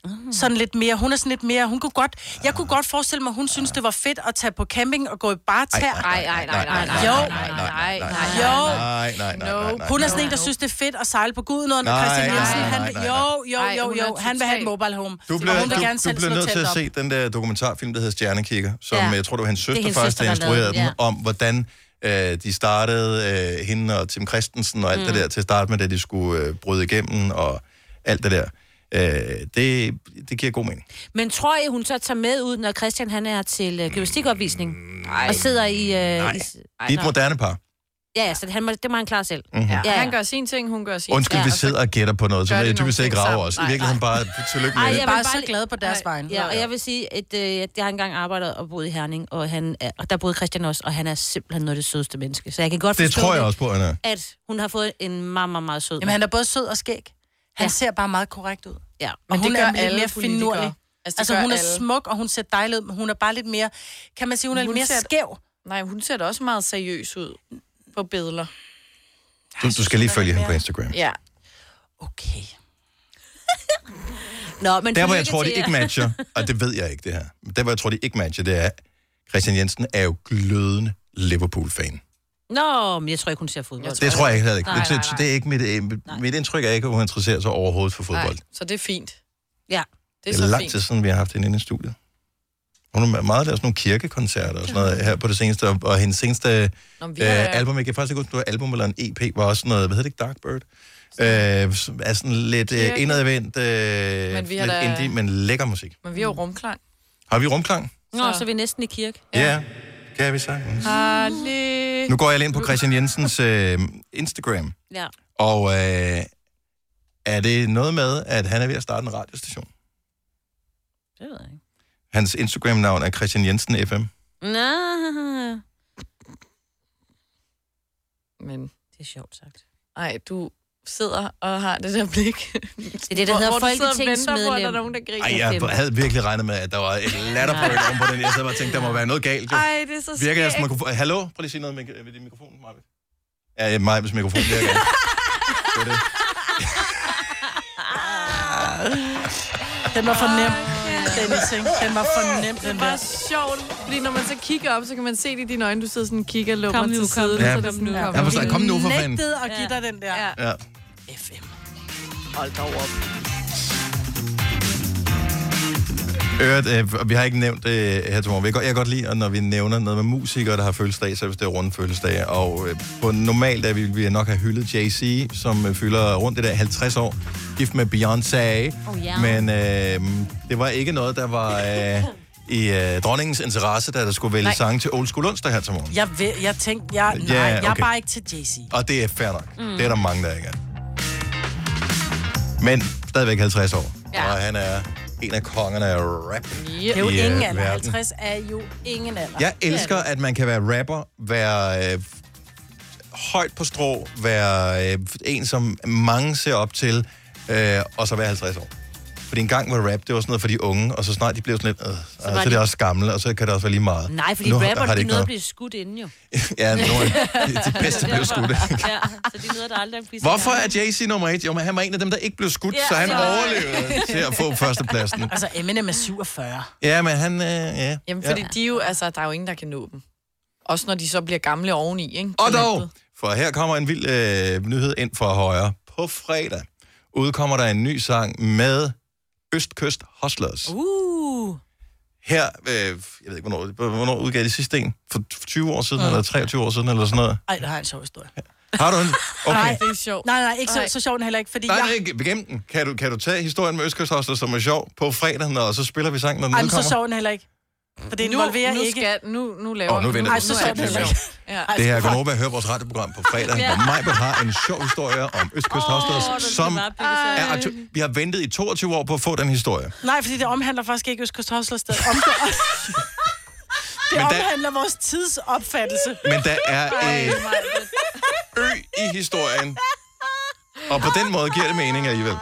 Speaker 3: Mm.
Speaker 4: Sådan lidt mere. Hun er sådan lidt mere. Hun kunne godt... Jeg kunne godt forestille mig, hun synes, det var fedt at tage på camping og gå i bare tær.
Speaker 3: Nej, nej, nej, nej, nej,
Speaker 4: Jo.
Speaker 3: nej, nej, nej, nej,
Speaker 4: Jo.
Speaker 1: Nej, nej, nej, nej, nej.
Speaker 4: Hun er sådan en, der synes, det er fedt at sejle på Gudenåen, og
Speaker 1: Nej,
Speaker 4: Christian
Speaker 1: nej,
Speaker 4: Jensen,
Speaker 1: nej,
Speaker 4: han
Speaker 1: nej, nej.
Speaker 4: Jo, jo,
Speaker 3: Ej,
Speaker 4: jo,
Speaker 3: hun
Speaker 4: jo.
Speaker 3: er
Speaker 4: Han vil have
Speaker 3: total-
Speaker 4: et mobile home.
Speaker 1: Du bliver,
Speaker 4: og hun vil
Speaker 1: du,
Speaker 4: gerne
Speaker 1: du
Speaker 4: selv
Speaker 1: bliver
Speaker 4: slå
Speaker 1: nødt til
Speaker 4: telt
Speaker 1: at
Speaker 4: op.
Speaker 1: se den der dokumentarfilm, der hedder Stjernekikker, som
Speaker 5: Ja.
Speaker 1: ja. jeg tror, det var hendes
Speaker 5: er
Speaker 1: søster
Speaker 5: hendes
Speaker 1: først,
Speaker 5: søster,
Speaker 1: der
Speaker 5: der
Speaker 1: instruerede
Speaker 5: lavede
Speaker 1: den,
Speaker 5: den,
Speaker 1: ja. om hvordan øh, de startede, øh, hende og Tim Christensen og alt mm. det der til at starte med, da de skulle øh, bryde igennem og alt det der. Øh, det, det giver god mening.
Speaker 5: Men tror I, hun så tager med ud, når Christian han er til øh, gymnastikopvisning? Nej. Og sidder i... Øh,
Speaker 1: Nej.
Speaker 5: i
Speaker 1: Ej, de er et moderne par.
Speaker 5: ja, ja, så han må, det må han klare selv.
Speaker 1: Mhm. Ja.
Speaker 5: ja.
Speaker 3: Han gør sine ting, hun gør sine
Speaker 1: Undskyld,
Speaker 3: ting.
Speaker 1: ja, vi sidder og gætter på noget, så
Speaker 3: gør
Speaker 1: vil
Speaker 3: de
Speaker 1: jeg
Speaker 3: nogle
Speaker 1: typisk ikke
Speaker 3: ting
Speaker 1: rave
Speaker 3: sammen.
Speaker 1: os. I
Speaker 3: Nej,
Speaker 1: virkeligheden bare tillykke med
Speaker 5: Ej,
Speaker 1: det.
Speaker 5: jeg
Speaker 4: Bare
Speaker 5: vil
Speaker 4: så
Speaker 5: lige-
Speaker 4: glad på deres
Speaker 5: Ej,
Speaker 4: vegne.
Speaker 5: Ja, og jeg vil sige, at øh, jeg har engang arbejdet og boet i Herning, og, han er, og der boede Christian også, og han er simpelthen noget af det sødeste menneske. Så jeg kan godt
Speaker 1: Det
Speaker 5: forstå
Speaker 1: tror jeg også på, Anna.
Speaker 5: at hun har fået en meget, meget, meget sød
Speaker 4: Jamen, han er både sød og skæg. Han
Speaker 5: Ja.
Speaker 4: ser bare meget korrekt ud.
Speaker 5: Ja,
Speaker 4: Og
Speaker 5: men
Speaker 4: hun
Speaker 5: det
Speaker 4: er
Speaker 5: gør
Speaker 4: lidt
Speaker 5: alle
Speaker 4: mere
Speaker 5: politikere.
Speaker 4: finurlig.
Speaker 3: Altså, det
Speaker 4: Altså,
Speaker 3: gør
Speaker 4: hun er
Speaker 3: alle.
Speaker 4: smuk, og hun ser dejlig ud, men hun er bare lidt mere... Kan man sige, hun er
Speaker 3: Hun
Speaker 4: lidt mere
Speaker 3: ser-
Speaker 4: skæv?
Speaker 3: Nej, hun ser da også meget seriøs ud på billeder.
Speaker 1: Du, du skal lige følge hende på Instagram.
Speaker 3: Ja.
Speaker 4: Okay.
Speaker 5: Nå, men
Speaker 1: Der, hvor jeg
Speaker 5: tillykke
Speaker 1: tror, de
Speaker 5: til jer.
Speaker 1: ikke matcher, og det ved jeg ikke, det her. Men Der, hvor jeg tror, de ikke matcher, det er, Christian Jensen er jo glødende Liverpool-fan.
Speaker 5: Nå, men jeg tror ikke, hun ser fodbold.
Speaker 1: Det tror jeg ikke, heller ikke.
Speaker 5: Nej,
Speaker 1: Det-
Speaker 5: nej,
Speaker 1: det- Det er ikke mit, øh, mit indtryk er ikke, at hun interesserer sig overhovedet for fodbold.
Speaker 3: Nej, så det er fint.
Speaker 5: Ja.
Speaker 3: Det
Speaker 1: Det
Speaker 3: er
Speaker 1: er
Speaker 3: så
Speaker 1: lang tid
Speaker 3: fint.
Speaker 1: siden, vi har haft hende inde i studiet. Hun har meget lavet sådan nogle kirkekoncerter og sådan noget her på det seneste, og- og hendes seneste
Speaker 3: Nå, men vi har-
Speaker 1: øh, album, jeg kan faktisk ikke huske, om det var album eller en EP, var også sådan noget, hvad hedder det ikke, Dark Bird? Øh, som er sådan lidt øh,
Speaker 3: Kirke.
Speaker 1: indadvendt, øh,
Speaker 3: Men
Speaker 1: men
Speaker 3: vi
Speaker 1: lidt
Speaker 3: har da-
Speaker 1: indie, men lækker musik.
Speaker 3: Men vi har jo rumklang.
Speaker 1: Har vi rumklang?
Speaker 5: Nå, så er vi næsten i kirke.
Speaker 1: Ja, ja kan vi sagtens.
Speaker 3: Harley.
Speaker 1: Nu går jeg lige ind på Christian Jensens øh, Instagram,
Speaker 5: Ja.
Speaker 1: og øh, er det noget med, at han er ved at starte en radiostation?
Speaker 5: Det ved jeg ikke.
Speaker 1: Hans Instagram-navn er Christian Jensen FM.
Speaker 5: Nå, Ah.
Speaker 3: Men
Speaker 5: det er sjovt sagt.
Speaker 3: ej, du sidder og har det der blik.
Speaker 5: Det er det, der hedder
Speaker 3: Hvor der er
Speaker 5: folketingsmedlem.
Speaker 3: nogen, der griner.
Speaker 1: Ej, jeg havde virkelig regnet med, at der var et latterbrøl om på den. Jeg sad bare og tænkte, der må være noget galt. Jo.
Speaker 3: Ej, det er så
Speaker 1: Virker jeres
Speaker 3: skægt.
Speaker 1: mikrofon... Hallo? Prøv lige at sige noget mik- ved din mikrofon, Marvitt. Ja, Marvitts mikrofon virker. ikke. Det er det.
Speaker 4: Den var for nem, Dennis, ikke? Den var for nem,
Speaker 3: Det
Speaker 4: den
Speaker 3: er
Speaker 4: der.
Speaker 3: bare sjovt, fordi når man så kigger op, så kan man se det i dine øjne, du sidder sådan og kigger og lummer
Speaker 5: Kom nu,
Speaker 3: til
Speaker 5: kom nu,
Speaker 3: siden. så
Speaker 1: Ja.
Speaker 3: er det sådan,
Speaker 5: kom nu.
Speaker 3: kom
Speaker 1: Jeg
Speaker 3: nu.
Speaker 1: forstår, kom nu for fanden.
Speaker 4: Nægtede at give dig den der.
Speaker 3: Ja.
Speaker 1: Ja.
Speaker 4: FM.
Speaker 1: Øret, øh, og vi har ikke nævnt det øh, her til morgen. Jeg kan godt- Jeg kan godt lide, at når vi nævner noget med musikere, der har fødselsdag, så hvis det er runde fødselsdage. Og øh, på normalt dag ville vi nok have hyldet Jay-Z, som øh, fylder rundt det der 50 år, gift med Beyoncé.
Speaker 5: Oh, ja.
Speaker 1: Men øh, det var ikke noget, der var øh, i øh, dronningens interesse, da der skulle vælge
Speaker 4: Nej.
Speaker 1: sange til Old School Onsdag her til morgen.
Speaker 4: Jeg, ved, jeg tænkte, jeg, nej,
Speaker 1: Ja,
Speaker 4: jeg er
Speaker 1: okay.
Speaker 4: bare ikke til JC.
Speaker 1: Og det er fair nok. Mm. Det er der mange, der ikke er. Men stadigvæk 50 år. Ja. Og han er en af kongerne af rap.
Speaker 4: Det er jo
Speaker 1: i, øh,
Speaker 4: ingen alder.
Speaker 1: verden.
Speaker 4: 50 er jo ingen alder.
Speaker 1: Jeg elsker, at man kan være rapper, være øh, højt på strå, være øh, en, som mange ser op til, øh, og så være 50 år. Fordi en gang var rap, det var sådan noget for de unge, og så snart de blev sådan lidt, øh, så, så er
Speaker 5: de-
Speaker 1: det også gamle, og så kan det også være lige meget.
Speaker 5: Nej, fordi
Speaker 1: Nu har-
Speaker 5: rapper,
Speaker 1: har
Speaker 5: de
Speaker 1: ikke
Speaker 5: nåede at blive skudt inden jo.
Speaker 1: Ja, nu er de,
Speaker 5: [LAUGHS]
Speaker 1: de bedste blev skudt.
Speaker 5: Ja, så de nåede der aldrig at blive
Speaker 1: Hvorfor er Jay-Z nummer et? Jo, men han var en af dem, der ikke blev skudt,
Speaker 5: Ja,
Speaker 1: så han
Speaker 5: det var-
Speaker 1: overlevede til at få
Speaker 5: [LAUGHS]
Speaker 1: førstepladsen.
Speaker 4: Altså, Eminem er 47.
Speaker 1: Ja, men han... Øh, ja.
Speaker 3: Jamen,
Speaker 1: ja.
Speaker 3: fordi de jo, altså, der er jo ingen, der kan nå dem. Også når de så bliver gamle oveni, ikke?
Speaker 1: Og
Speaker 3: På
Speaker 1: dog,
Speaker 3: nettet.
Speaker 1: for her kommer en vild øh, nyhed ind fra højre. På fredag udkommer der en ny sang med Østkyst Hustlers. Uh.
Speaker 5: Uh,
Speaker 1: Her, øh, jeg ved ikke, hvornår, hvornår udgav de sidste en? For 20 år siden, uh. eller 23 år siden, eller sådan noget.
Speaker 4: Ej, der har jeg en sjov historie.
Speaker 1: Har du en? Okay.
Speaker 4: Nej.
Speaker 3: Det er sjovt.
Speaker 4: Nej, nej, ikke så,
Speaker 3: Nej.
Speaker 4: så sjov den heller ikke, fordi
Speaker 1: Nej,
Speaker 4: jeg...
Speaker 1: nej, ikke- gem den. Kan du, kan du tage historien med Østkyst Hustlers, som er sjov, på fredag, når så spiller vi sangen, når den
Speaker 4: Ej, men
Speaker 1: udkommer?
Speaker 4: så sjov den heller ikke. For det
Speaker 3: Nu,
Speaker 4: involverer
Speaker 3: nu,
Speaker 4: ikke...
Speaker 3: skal, nu, nu laver
Speaker 1: Åh, nu venter
Speaker 4: vi. Ej, så
Speaker 3: er
Speaker 4: sjovt
Speaker 3: det
Speaker 4: heller
Speaker 3: sjovt.
Speaker 4: ikke.
Speaker 3: Ja.
Speaker 1: Det her er Gonova, hør vores radioprogram på fredag, hvor Majbert har en sjov historie om Østkyst Hostlers,
Speaker 5: Åh,
Speaker 1: oh,
Speaker 5: den skal
Speaker 1: som
Speaker 5: bare bygges op.
Speaker 1: er aktu- Vi har ventet i 22 år på at få den historie.
Speaker 4: Nej, fordi det omhandler faktisk ikke Østkyst Hoslers sted. Om det, det
Speaker 1: Men der-
Speaker 4: omhandler vores tidsopfattelse.
Speaker 1: Men der er øh, ø i historien. Og på den måde giver det mening alligevel.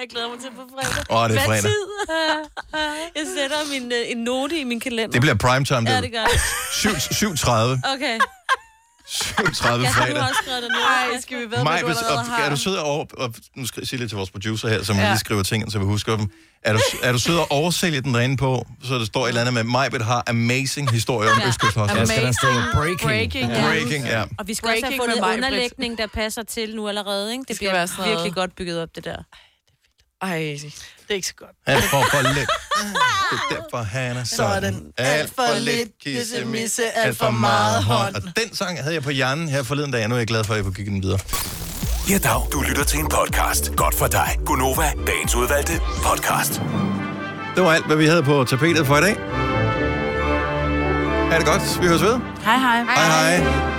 Speaker 5: jeg glæder mig til på fredag.
Speaker 1: Åh, Ah, det er
Speaker 5: Hvad
Speaker 1: fredag.
Speaker 5: tid? Jeg sætter min, øh, en note i min kalender.
Speaker 1: Det bliver primetime,
Speaker 5: Ja,
Speaker 1: det.
Speaker 5: det gør jeg.
Speaker 1: 7.30.
Speaker 5: Okay.
Speaker 1: 37 fredag.
Speaker 5: skrevet det
Speaker 3: ned. Nej, skal vi ved, hvad
Speaker 1: Maj,
Speaker 3: du
Speaker 1: hvis,
Speaker 3: allerede
Speaker 1: og,
Speaker 3: har?
Speaker 1: er du sød at over... Og, nu skal jeg sige lidt til vores producer her, som
Speaker 3: Ja.
Speaker 1: ja. lige skriver tingene, så vi husker dem. Er du, er du sød at oversælge den derinde på, så der står et eller andet med, Majbet har amazing historie om ja. Østkyst Hospital.
Speaker 8: Ja, skal der stå breaking?
Speaker 1: Ja. Breaking, ja.
Speaker 5: Og vi skal
Speaker 3: Breaking
Speaker 5: Breaking også have
Speaker 3: med
Speaker 5: fundet
Speaker 3: mig,
Speaker 5: en underlægning, der passer til nu allerede. Ikke? Det, det
Speaker 3: skal
Speaker 5: bliver
Speaker 3: være sådan noget-
Speaker 5: virkelig godt bygget op, det der.
Speaker 3: Ej,
Speaker 4: Det er ikke så godt.
Speaker 1: Alt for, for lidt. Det er derfor, han er sådan. Alt for lidt kissemisse, alt for meget hånd. Og den sang havde jeg på hjernen her forleden dag, og nu er jeg glad for, at jeg kunne give den videre.
Speaker 7: Ja, dag. Du lytter til en podcast. Godt for dig. Gunova, dagens udvalgte podcast.
Speaker 1: Det var alt, hvad vi havde på tapetet for i dag. Ha' det godt. Vi høres ved.
Speaker 4: Hej, hej.
Speaker 1: Hej hej.